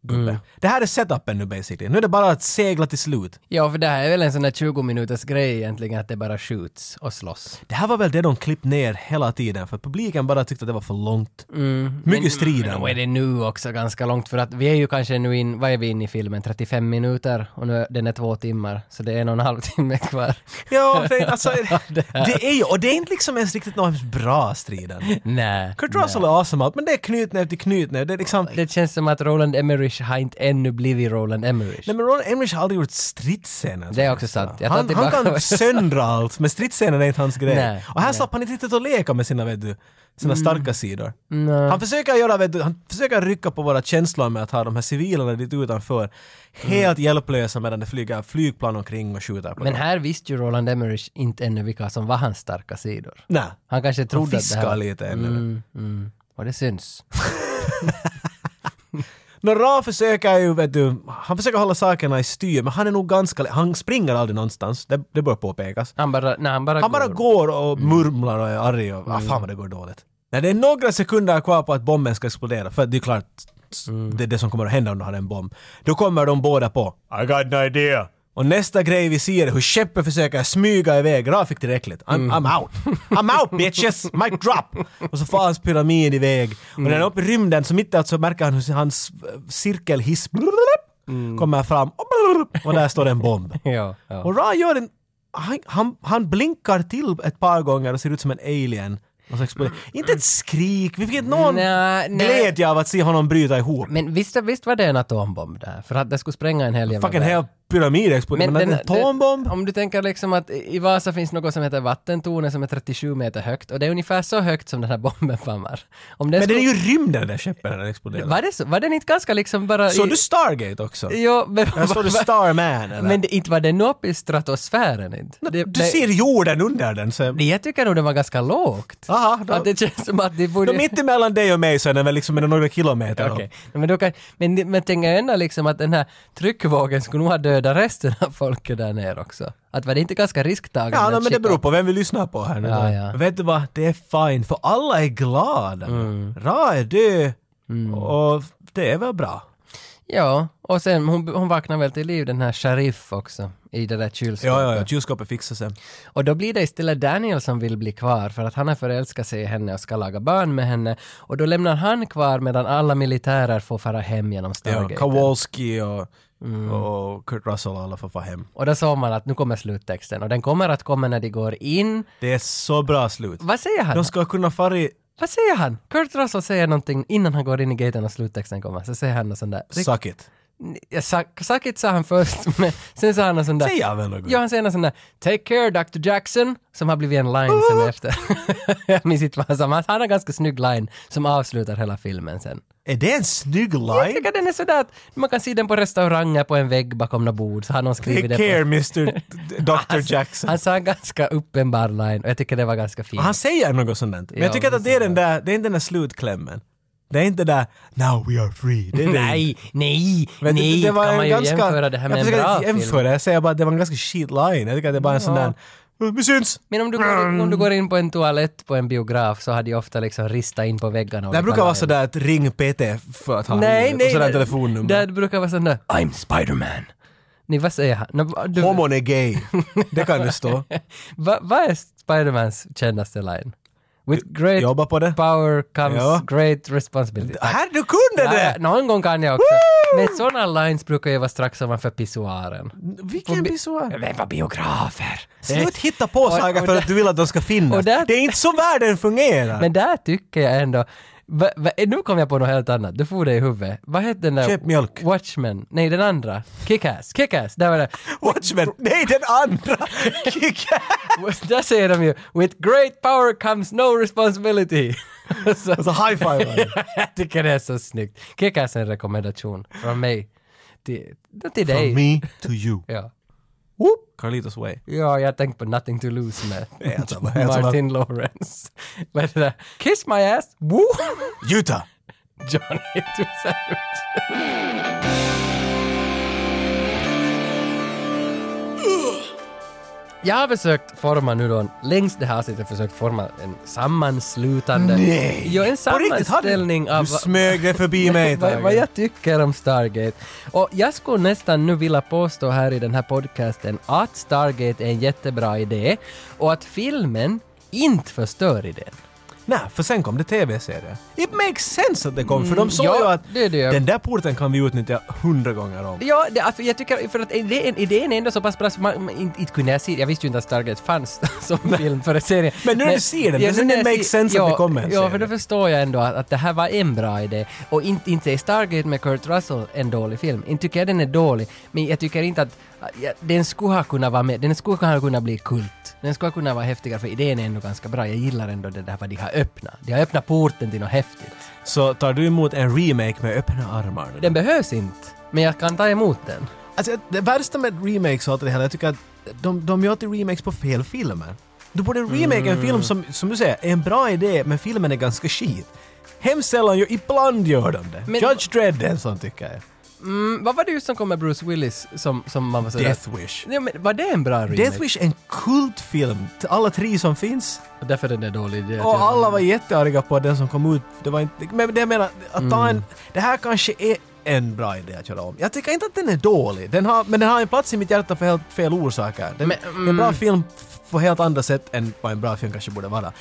B: Mm.
C: gubbe. Det här är setupen nu basically. Nu är det bara att segla till slut.
B: Ja, för det här är väl en sån där 20 minuters grej egentligen, att det bara skjuts och slåss.
C: Det här var väl det de klippt ner hela tiden för publiken bara tyckte att det var för långt. Mycket
B: Mm. Men
C: strider.
B: nog är det nu också ganska långt för att vi är ju kanske nu in, vad är vi inne i filmen, 35 minuter och nu, är- den är två timmar så det är en och en halv timme kvar.
C: Ja, det, alltså, det är ju, och det är inte liksom ens riktigt någon bra strider.
B: Nej.
C: Kurt Russell är awesome allt, men det är knytnäve till knytnäve. Det är liksom...
B: Det känns som att Roland Emmerich har inte ännu blivit Roland Emmerich.
C: Nej men Ron Emmerich har aldrig gjort stridsscener.
B: Det är också sant. Jag tar
C: Han, han
B: tillbaka vad
C: kan
B: jag sa.
C: söndra allt, men stridsscener är inte hans grej.
B: Nej,
C: och här slapp han inte riktigt att leka med sina, vet du, sina starka sidor. Han försöker göra, vet du, han försöker rycka på våra känslor med att ha de här civilerna lite utanför. Helt hjälplösa medan det flyger flygplan omkring och skjuter på
B: Mm. Men
C: dem.
B: här visste ju Roland Emmerich inte ännu vilka som var hans starka sidor.
C: Nej,
B: Han kanske
C: de
B: trodde att det här
C: viskar
B: var...
C: lite ännu.
B: Mm, mm. Och det syns.
C: Nå, Ra försöker ju, vet du, han försöker hålla sakerna i styr, men han är nog ganska, han springer aldrig någonstans, det, det bör påpekas.
B: Han bara, nej, han bara
C: Han bara går Mm. och murmlar och är arg och ah, fan vad det går dåligt. Nej, det är några sekunder kvar på att bomben ska explodera, för det är klart s- det är det som kommer att hända om du har en bomb. Då kommer de båda på I got an idea. Och nästa grej vi ser är hur skeppet försöker smyga iväg. Ra fick tillräckligt. I'm, I'm out. I'm out bitches! Mic drop! Och så far hans pyramid iväg. Och när han är uppe i rymden så mitt i allt så märker han hur hans eh, cirkelhiss kommer fram. Och där står det en bomb.
B: Ja, ja.
C: Och Ra gör en... Han, han, han blinkar till ett par gånger och ser ut som en alien. Någon slags poli- Inte ett skrik, vi fick inte någon
B: Nej, nej.
C: glädje av att se honom bryta ihop.
B: Men visst, visst var det en atombomb där? För att det skulle spränga en hel jävla
C: Fucking
B: värld.
C: hel pyramid exploderade. Men,
B: den-
C: en atombomb?
B: Den, om du tänker liksom att i Vasa finns något som heter vattentornet som är 37 meter högt och det är ungefär så högt som den här bomben fammar. Om den
C: Men den
B: skulle-
C: är ju rymden den där skeppen när den exploderade.
B: Var det så? Var den inte ganska liksom bara...
C: Såg
B: i-
C: du Stargate också?
B: Jo, men...
C: Eller såg du Starman? Eller?
B: men det, inte var den upp i stratosfären inte? Det-
C: du
B: det-
C: ser jorden under den. Så...
B: det- Jag tycker nog det var ganska lågt.
C: Aha, då-
B: Att det känns som att det borde...
C: Då mitt emellan dig och mig så är den väl liksom några kilometer.
B: Okej, men då kan, men, men tänk ändå liksom att den här tryckvågen skulle nog ha dödat resten av folket där nere också. Att var det inte ganska risktagande
C: Ja,
B: att
C: no, men det
B: skicka-
C: beror på vem vi lyssnar på här nu.
B: Ja,
C: då.
B: ja.
C: Vet du vad, det är fine för alla är glada.
B: Mm.
C: Ra är död och det är väl bra.
B: Ja, och sen hon, hon vaknar väl till liv den här sheriff också i det där kylskåpet.
C: Ja, ja, ja, kylskåpet fixar sig.
B: Och då blir det istället Daniel som vill bli kvar för att han har förälskat sig i henne och ska laga barn med henne. Och då lämnar han kvar medan alla militärer får fara hem genom
C: Ja,
B: Stargate.
C: Kowalski och,
B: Mm.
C: och Kurt Russell alla får vara hem.
B: och då såg man att nu kommer sluttexten och den kommer att komma när de går in.
C: Det är så bra slut.
B: Vad säger han?
C: De ska kunna fara i
B: Vad säger han? Kurt Russell säger någonting innan han går in i gaten och sluttexten kommer. Så säger han något sånt där.
C: Suck it.
B: Ja, Sa- Sakit sa han först, men sen sa han något sånt där.
C: Säger han väl något?
B: Ja, han säger något sånt där “Take care Dr. Jackson” som har blivit en line
C: Ah.
B: sen efter. Jag minns inte vad han sa, men han har en ganska snygg line som avslutar hela filmen sen.
C: Är det en snygg
B: Jag
C: line?
B: tycker den är sådär att man kan se den på restauranger på en vägg bakom något bord, så har någon skrivit
C: Take
B: det på... Alltså,
C: care Mr. Dr. Jackson.
B: Han sa en ganska uppenbar line och jag tycker det var ganska fint.
C: Han säger något sånt där. Men jag
B: Ja,
C: tycker att
B: precis.
C: det är den där, det är inte den där slutklämmen. Det är inte där “Now we are free”. Det är det
B: Nej, nej,
C: Men
B: nej,
C: det, det var
B: kan
C: en
B: man ju
C: ganska,
B: jämföra det här med
C: jag
B: en bra
C: försöker inte jämföra,
B: film.
C: jag säger bara att det var en ganska shit line. Jag tycker att det är bara en sån där... "Mm, Vi syns!
B: Men om du,
C: Mm.
B: går, om du går in på en toalett på en biograf så hade jag ofta liksom ristat in på väggarna.
C: Det
B: olika
C: här brukar vara
B: lines.
C: sådär att ring PT för att ha
B: Nej,
C: numret
B: nej.
C: och sådär
B: det-
C: telefonnummer.
B: Det brukar vara sån där I'm Spiderman. Nej, vad säger han? No, va- du,
C: Homon är gay. det kan det stå.
B: va, vad är Spidermans kändaste line? With great
C: Jobba på det.
B: power comes
C: Ja.
B: great responsibility.
C: Här, du kunde
B: Ja,
C: det!
B: någon gång kan jag också. Men såna lines brukar ju vara strax ovanför pissoaren.
C: Vilken bisarr.
B: Men vad biografer!
C: Slut hitta på
B: och-
C: saker
B: och
C: för
B: där-
C: att du vill att de ska
B: och
C: finnas.
B: där-
C: Det är inte så världen fungerar.
B: Men där tycker jag ändå... Va, va, eh, nu kom jag på något helt annat, du får det i huvudet. Vad hette den där...
C: Köp mjölk.
B: Watchmen. Nej, den andra. Kick-Ass. Kick-Ass. Där var det.
C: Watchmen. Nej, den andra! Kicka!
B: där säger de ju “With great power comes no responsibility”. så,
C: Alltså high-five.
B: jag tycker det är så snyggt. Kick-Ass är en rekommendation från mig. Till, till dig.
C: From me to you.
B: Ja.
C: Whoop. Carlitos way.
B: ja, jag tänkte på “Nothing to lose” med
C: Jag tar bara- jag tar bara-
B: Martin Lawrence. Vad heter det? “Kiss my ass”. Woo!
C: alltså- Utah!
B: Johnny, du ser ut. Jag har försökt forma nu då, längs det här avsnittet försökt forma en sammanslutande...
C: Nej!
B: Jo, en
C: På riktigt, har
B: sammanställning
C: du-
B: av...
C: Du smög dig förbi mig
B: vad, vad
C: Tage.
B: jag tycker om Stargate. Och jag skulle nästan nu vilja påstå här i den här podcasten att Stargate är en jättebra idé och att filmen inte förstör idén.
C: Nej, för sen kom det tv-serier. It makes sense att det kom, för de såg
B: Mm, ja,
C: ju att
B: det är det.
C: den där porten kan vi utnyttja hundra gånger om.
B: Ja, det, alltså, jag tycker för att idén, idén är ändå så pass bra så man, man, inte, inte kunde jag se Jag visste ju inte att Stargate fanns som film för en serie.
C: Men nu när du ser den,
B: nu
C: det
B: när jag
C: makes
B: ser-
C: sense att det kommer en
B: Ja,
C: serie.
B: för då förstår jag ändå att, att det här var en bra idé. Och inte, inte är Stargate med Kurt Russell en dålig film. Inte tycker jag den är dålig, men jag tycker inte att ja, den skulle ha kunnat vara med. Den skulle ha kunnat bli kult. Den skulle ha kunnat vara häftigare för idén är ändå ganska bra. Jag gillar ändå det där vad de har öppnat. De har öppnat porten till något häftigt.
C: Så tar du emot en remake med öppna armar? nu?
B: Den behövs inte, men jag kan ta emot den.
C: Alltså, det värsta med remakes och allt det hela, jag tycker att de, de gör alltid remakes på fel filmer. Du borde
B: Mm.
C: remake en film som, som du säger, är en bra idé, men filmen är ganska skit. Hemskt sällan, gör- ibland gör de det.
B: Men-
C: Judge Dredd är en sån tycker jag.
B: Mm, vad var det just som kom med Bruce Willis som, som man var sådär...
C: Death Wish.
B: Nej, men var det en bra remake?
C: Death Wish är en kultfilm, till alla tre som finns.
B: Och Därför är den är dålig. Det-
C: Och alla var jättearga på den som kom ut. Det var inte, men det jag menar, att ta
B: Mm.
C: en, det här kanske är en bra idé att köra om. Jag tycker inte att den är dålig, den har, men den har en plats i mitt hjärta för helt fel orsaker. Den,
B: Men, mm, Mm.
C: det är en bra film på helt andra sätt än vad en bra film kanske borde vara.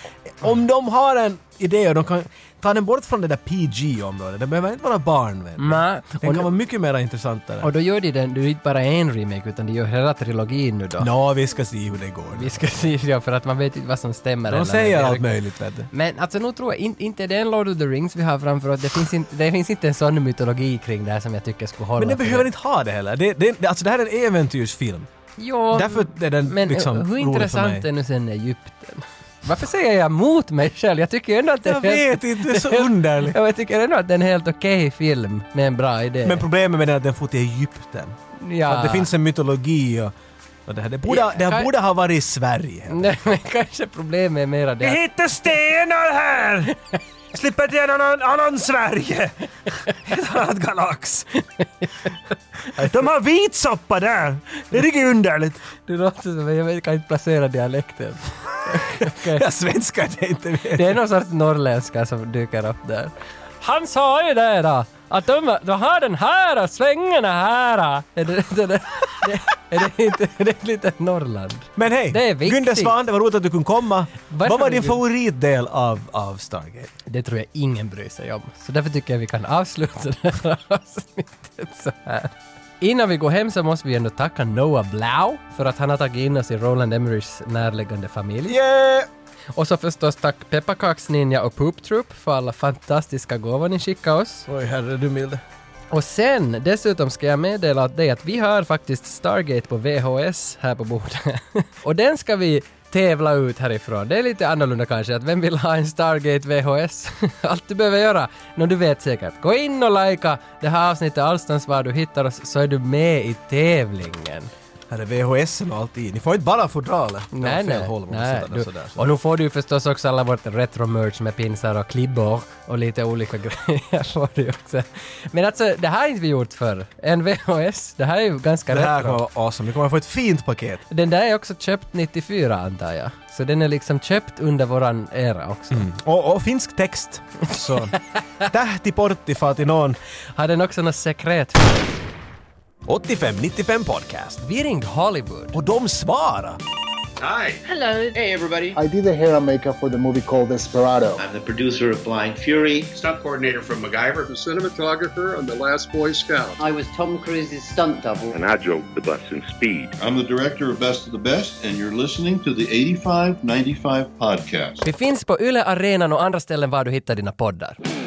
C: Om de har en idé och de kan ta den bort från det där PG-området. Den behöver inte vara barnvänlig.
B: Nej.
C: Den kan vara mycket mer intressant där.
B: Mm. Och då gör de den, det är inte bara en remake utan de gör hela trilogin nu då.
C: Nå, vi ska se hur det går.
B: Vi ska se, ja, för att man vet inte vad som stämmer.
C: De
B: eller-
C: säger allt möjligt, vet du.
B: Men alltså nog tror jag inte, inte det är en Lord of the Rings vi har framför oss. Det finns inte, det finns inte en sån mytologi kring det här som jag tycker skulle hålla.
C: Men den
B: för
C: behöver inte ha det heller. Det, det, alltså det här är en äventyrsfilm.
B: Jo,
C: Därför är den
B: men
C: liksom
B: hur
C: rolig
B: intressant
C: för
B: är
C: mig.
B: nu sen Egypten? Varför säger jag emot mig själv? Jag tycker ändå att det
C: Jag vet inte, det är så underligt.
B: Ja, men jag tycker ändå att det är en helt okej film med en bra idé.
C: Men problemet med den är att den får till Egypten.
B: ja.
C: Att det finns en mytologi och, och det här. Det borde, ha- det här
B: kan-
C: borde ha varit i Sverige.
B: Nej, men kanske problemet är mera det att
C: hittar stenar här! Slipper till någon annan Sverige! Ett annat galax. De har vit soppa där! Det är riktigt underligt.
B: du låter som, jag vet- kan inte placera dialekten.
C: Jag svenskar det inte vet.
B: Det är någon sorts norrländska som dyker upp där. Han sa ju det då! Att de, de har den här och svängarna här! Är det, det, det, det, är det inte är det lite Norrland?
C: Men hej,
B: Det är viktigt.
C: Gunde Svan, det var roligt att du kunde komma.
B: Varför
C: Vad var
B: är
C: din
B: du-
C: favoritdel av, av Stargate?
B: Det tror jag ingen bryr sig om. Så därför tycker jag vi kan avsluta det här avsnittet så här. Innan vi går hem så måste vi ändå tacka Noah Blau för att han har tagit in oss i Roland Emmerichs närliggande familj.
C: Yeah!
B: Och så förstås tack Pepparkaksninja och Poop Troop för alla fantastiska gåvor ni skickade oss.
C: Oj, herre du milde.
B: Och sen, dessutom ska jag meddela att dig att vi har faktiskt Stargate på VHS här på bordet. och den ska vi tävla ut härifrån. Det är lite annorlunda kanske, att vem vill ha en Stargate VHS? Allt du behöver göra, nå du vet säkert, gå in och lajka det här avsnittet allstans var du hittar oss så är du med i tävlingen.
C: Här är VHS och allt i. Ni får inte bara fodralet. Det var
B: Nej,
C: fel
B: nej.
C: håll och
B: nej
C: sådär,
B: du,
C: sådär, sådär.
B: och nu får du ju förstås också alla vårt retro-merch med pinsar och klibbor och lite olika grejer får du ju också. Men alltså, det här har inte vi gjort förr. En VHS, det här är ju ganska
C: Det här
B: retro.
C: kommer vara awesome. Ni kommer få ett fint paket.
B: Den där är också köpt 94 antar jag. Så den är liksom köpt under våran era också.
C: Och, och finsk text. Så. Tähti portti faati noin.
B: Har den också något sekret?
C: 85-95 podcast.
B: Vi ringde Hollywood.
C: Och de svarar.
E: Hi.
F: Hello.
E: Hey, everybody.
G: I did the hair and makeup for the movie called Desperado.
E: I'm the producer of Blind Fury.
H: stunt coordinator from MacGyver. The cinematographer on The Last Boy Scout.
F: I was Tom Cruise's stunt double.
I: and I drove the bus in speed.
J: I'm the director of Best of the Best, and you're listening to the 8595 podcast.
B: Vi finns på Yle Arenan och andra ställen var du hittar dina poddar.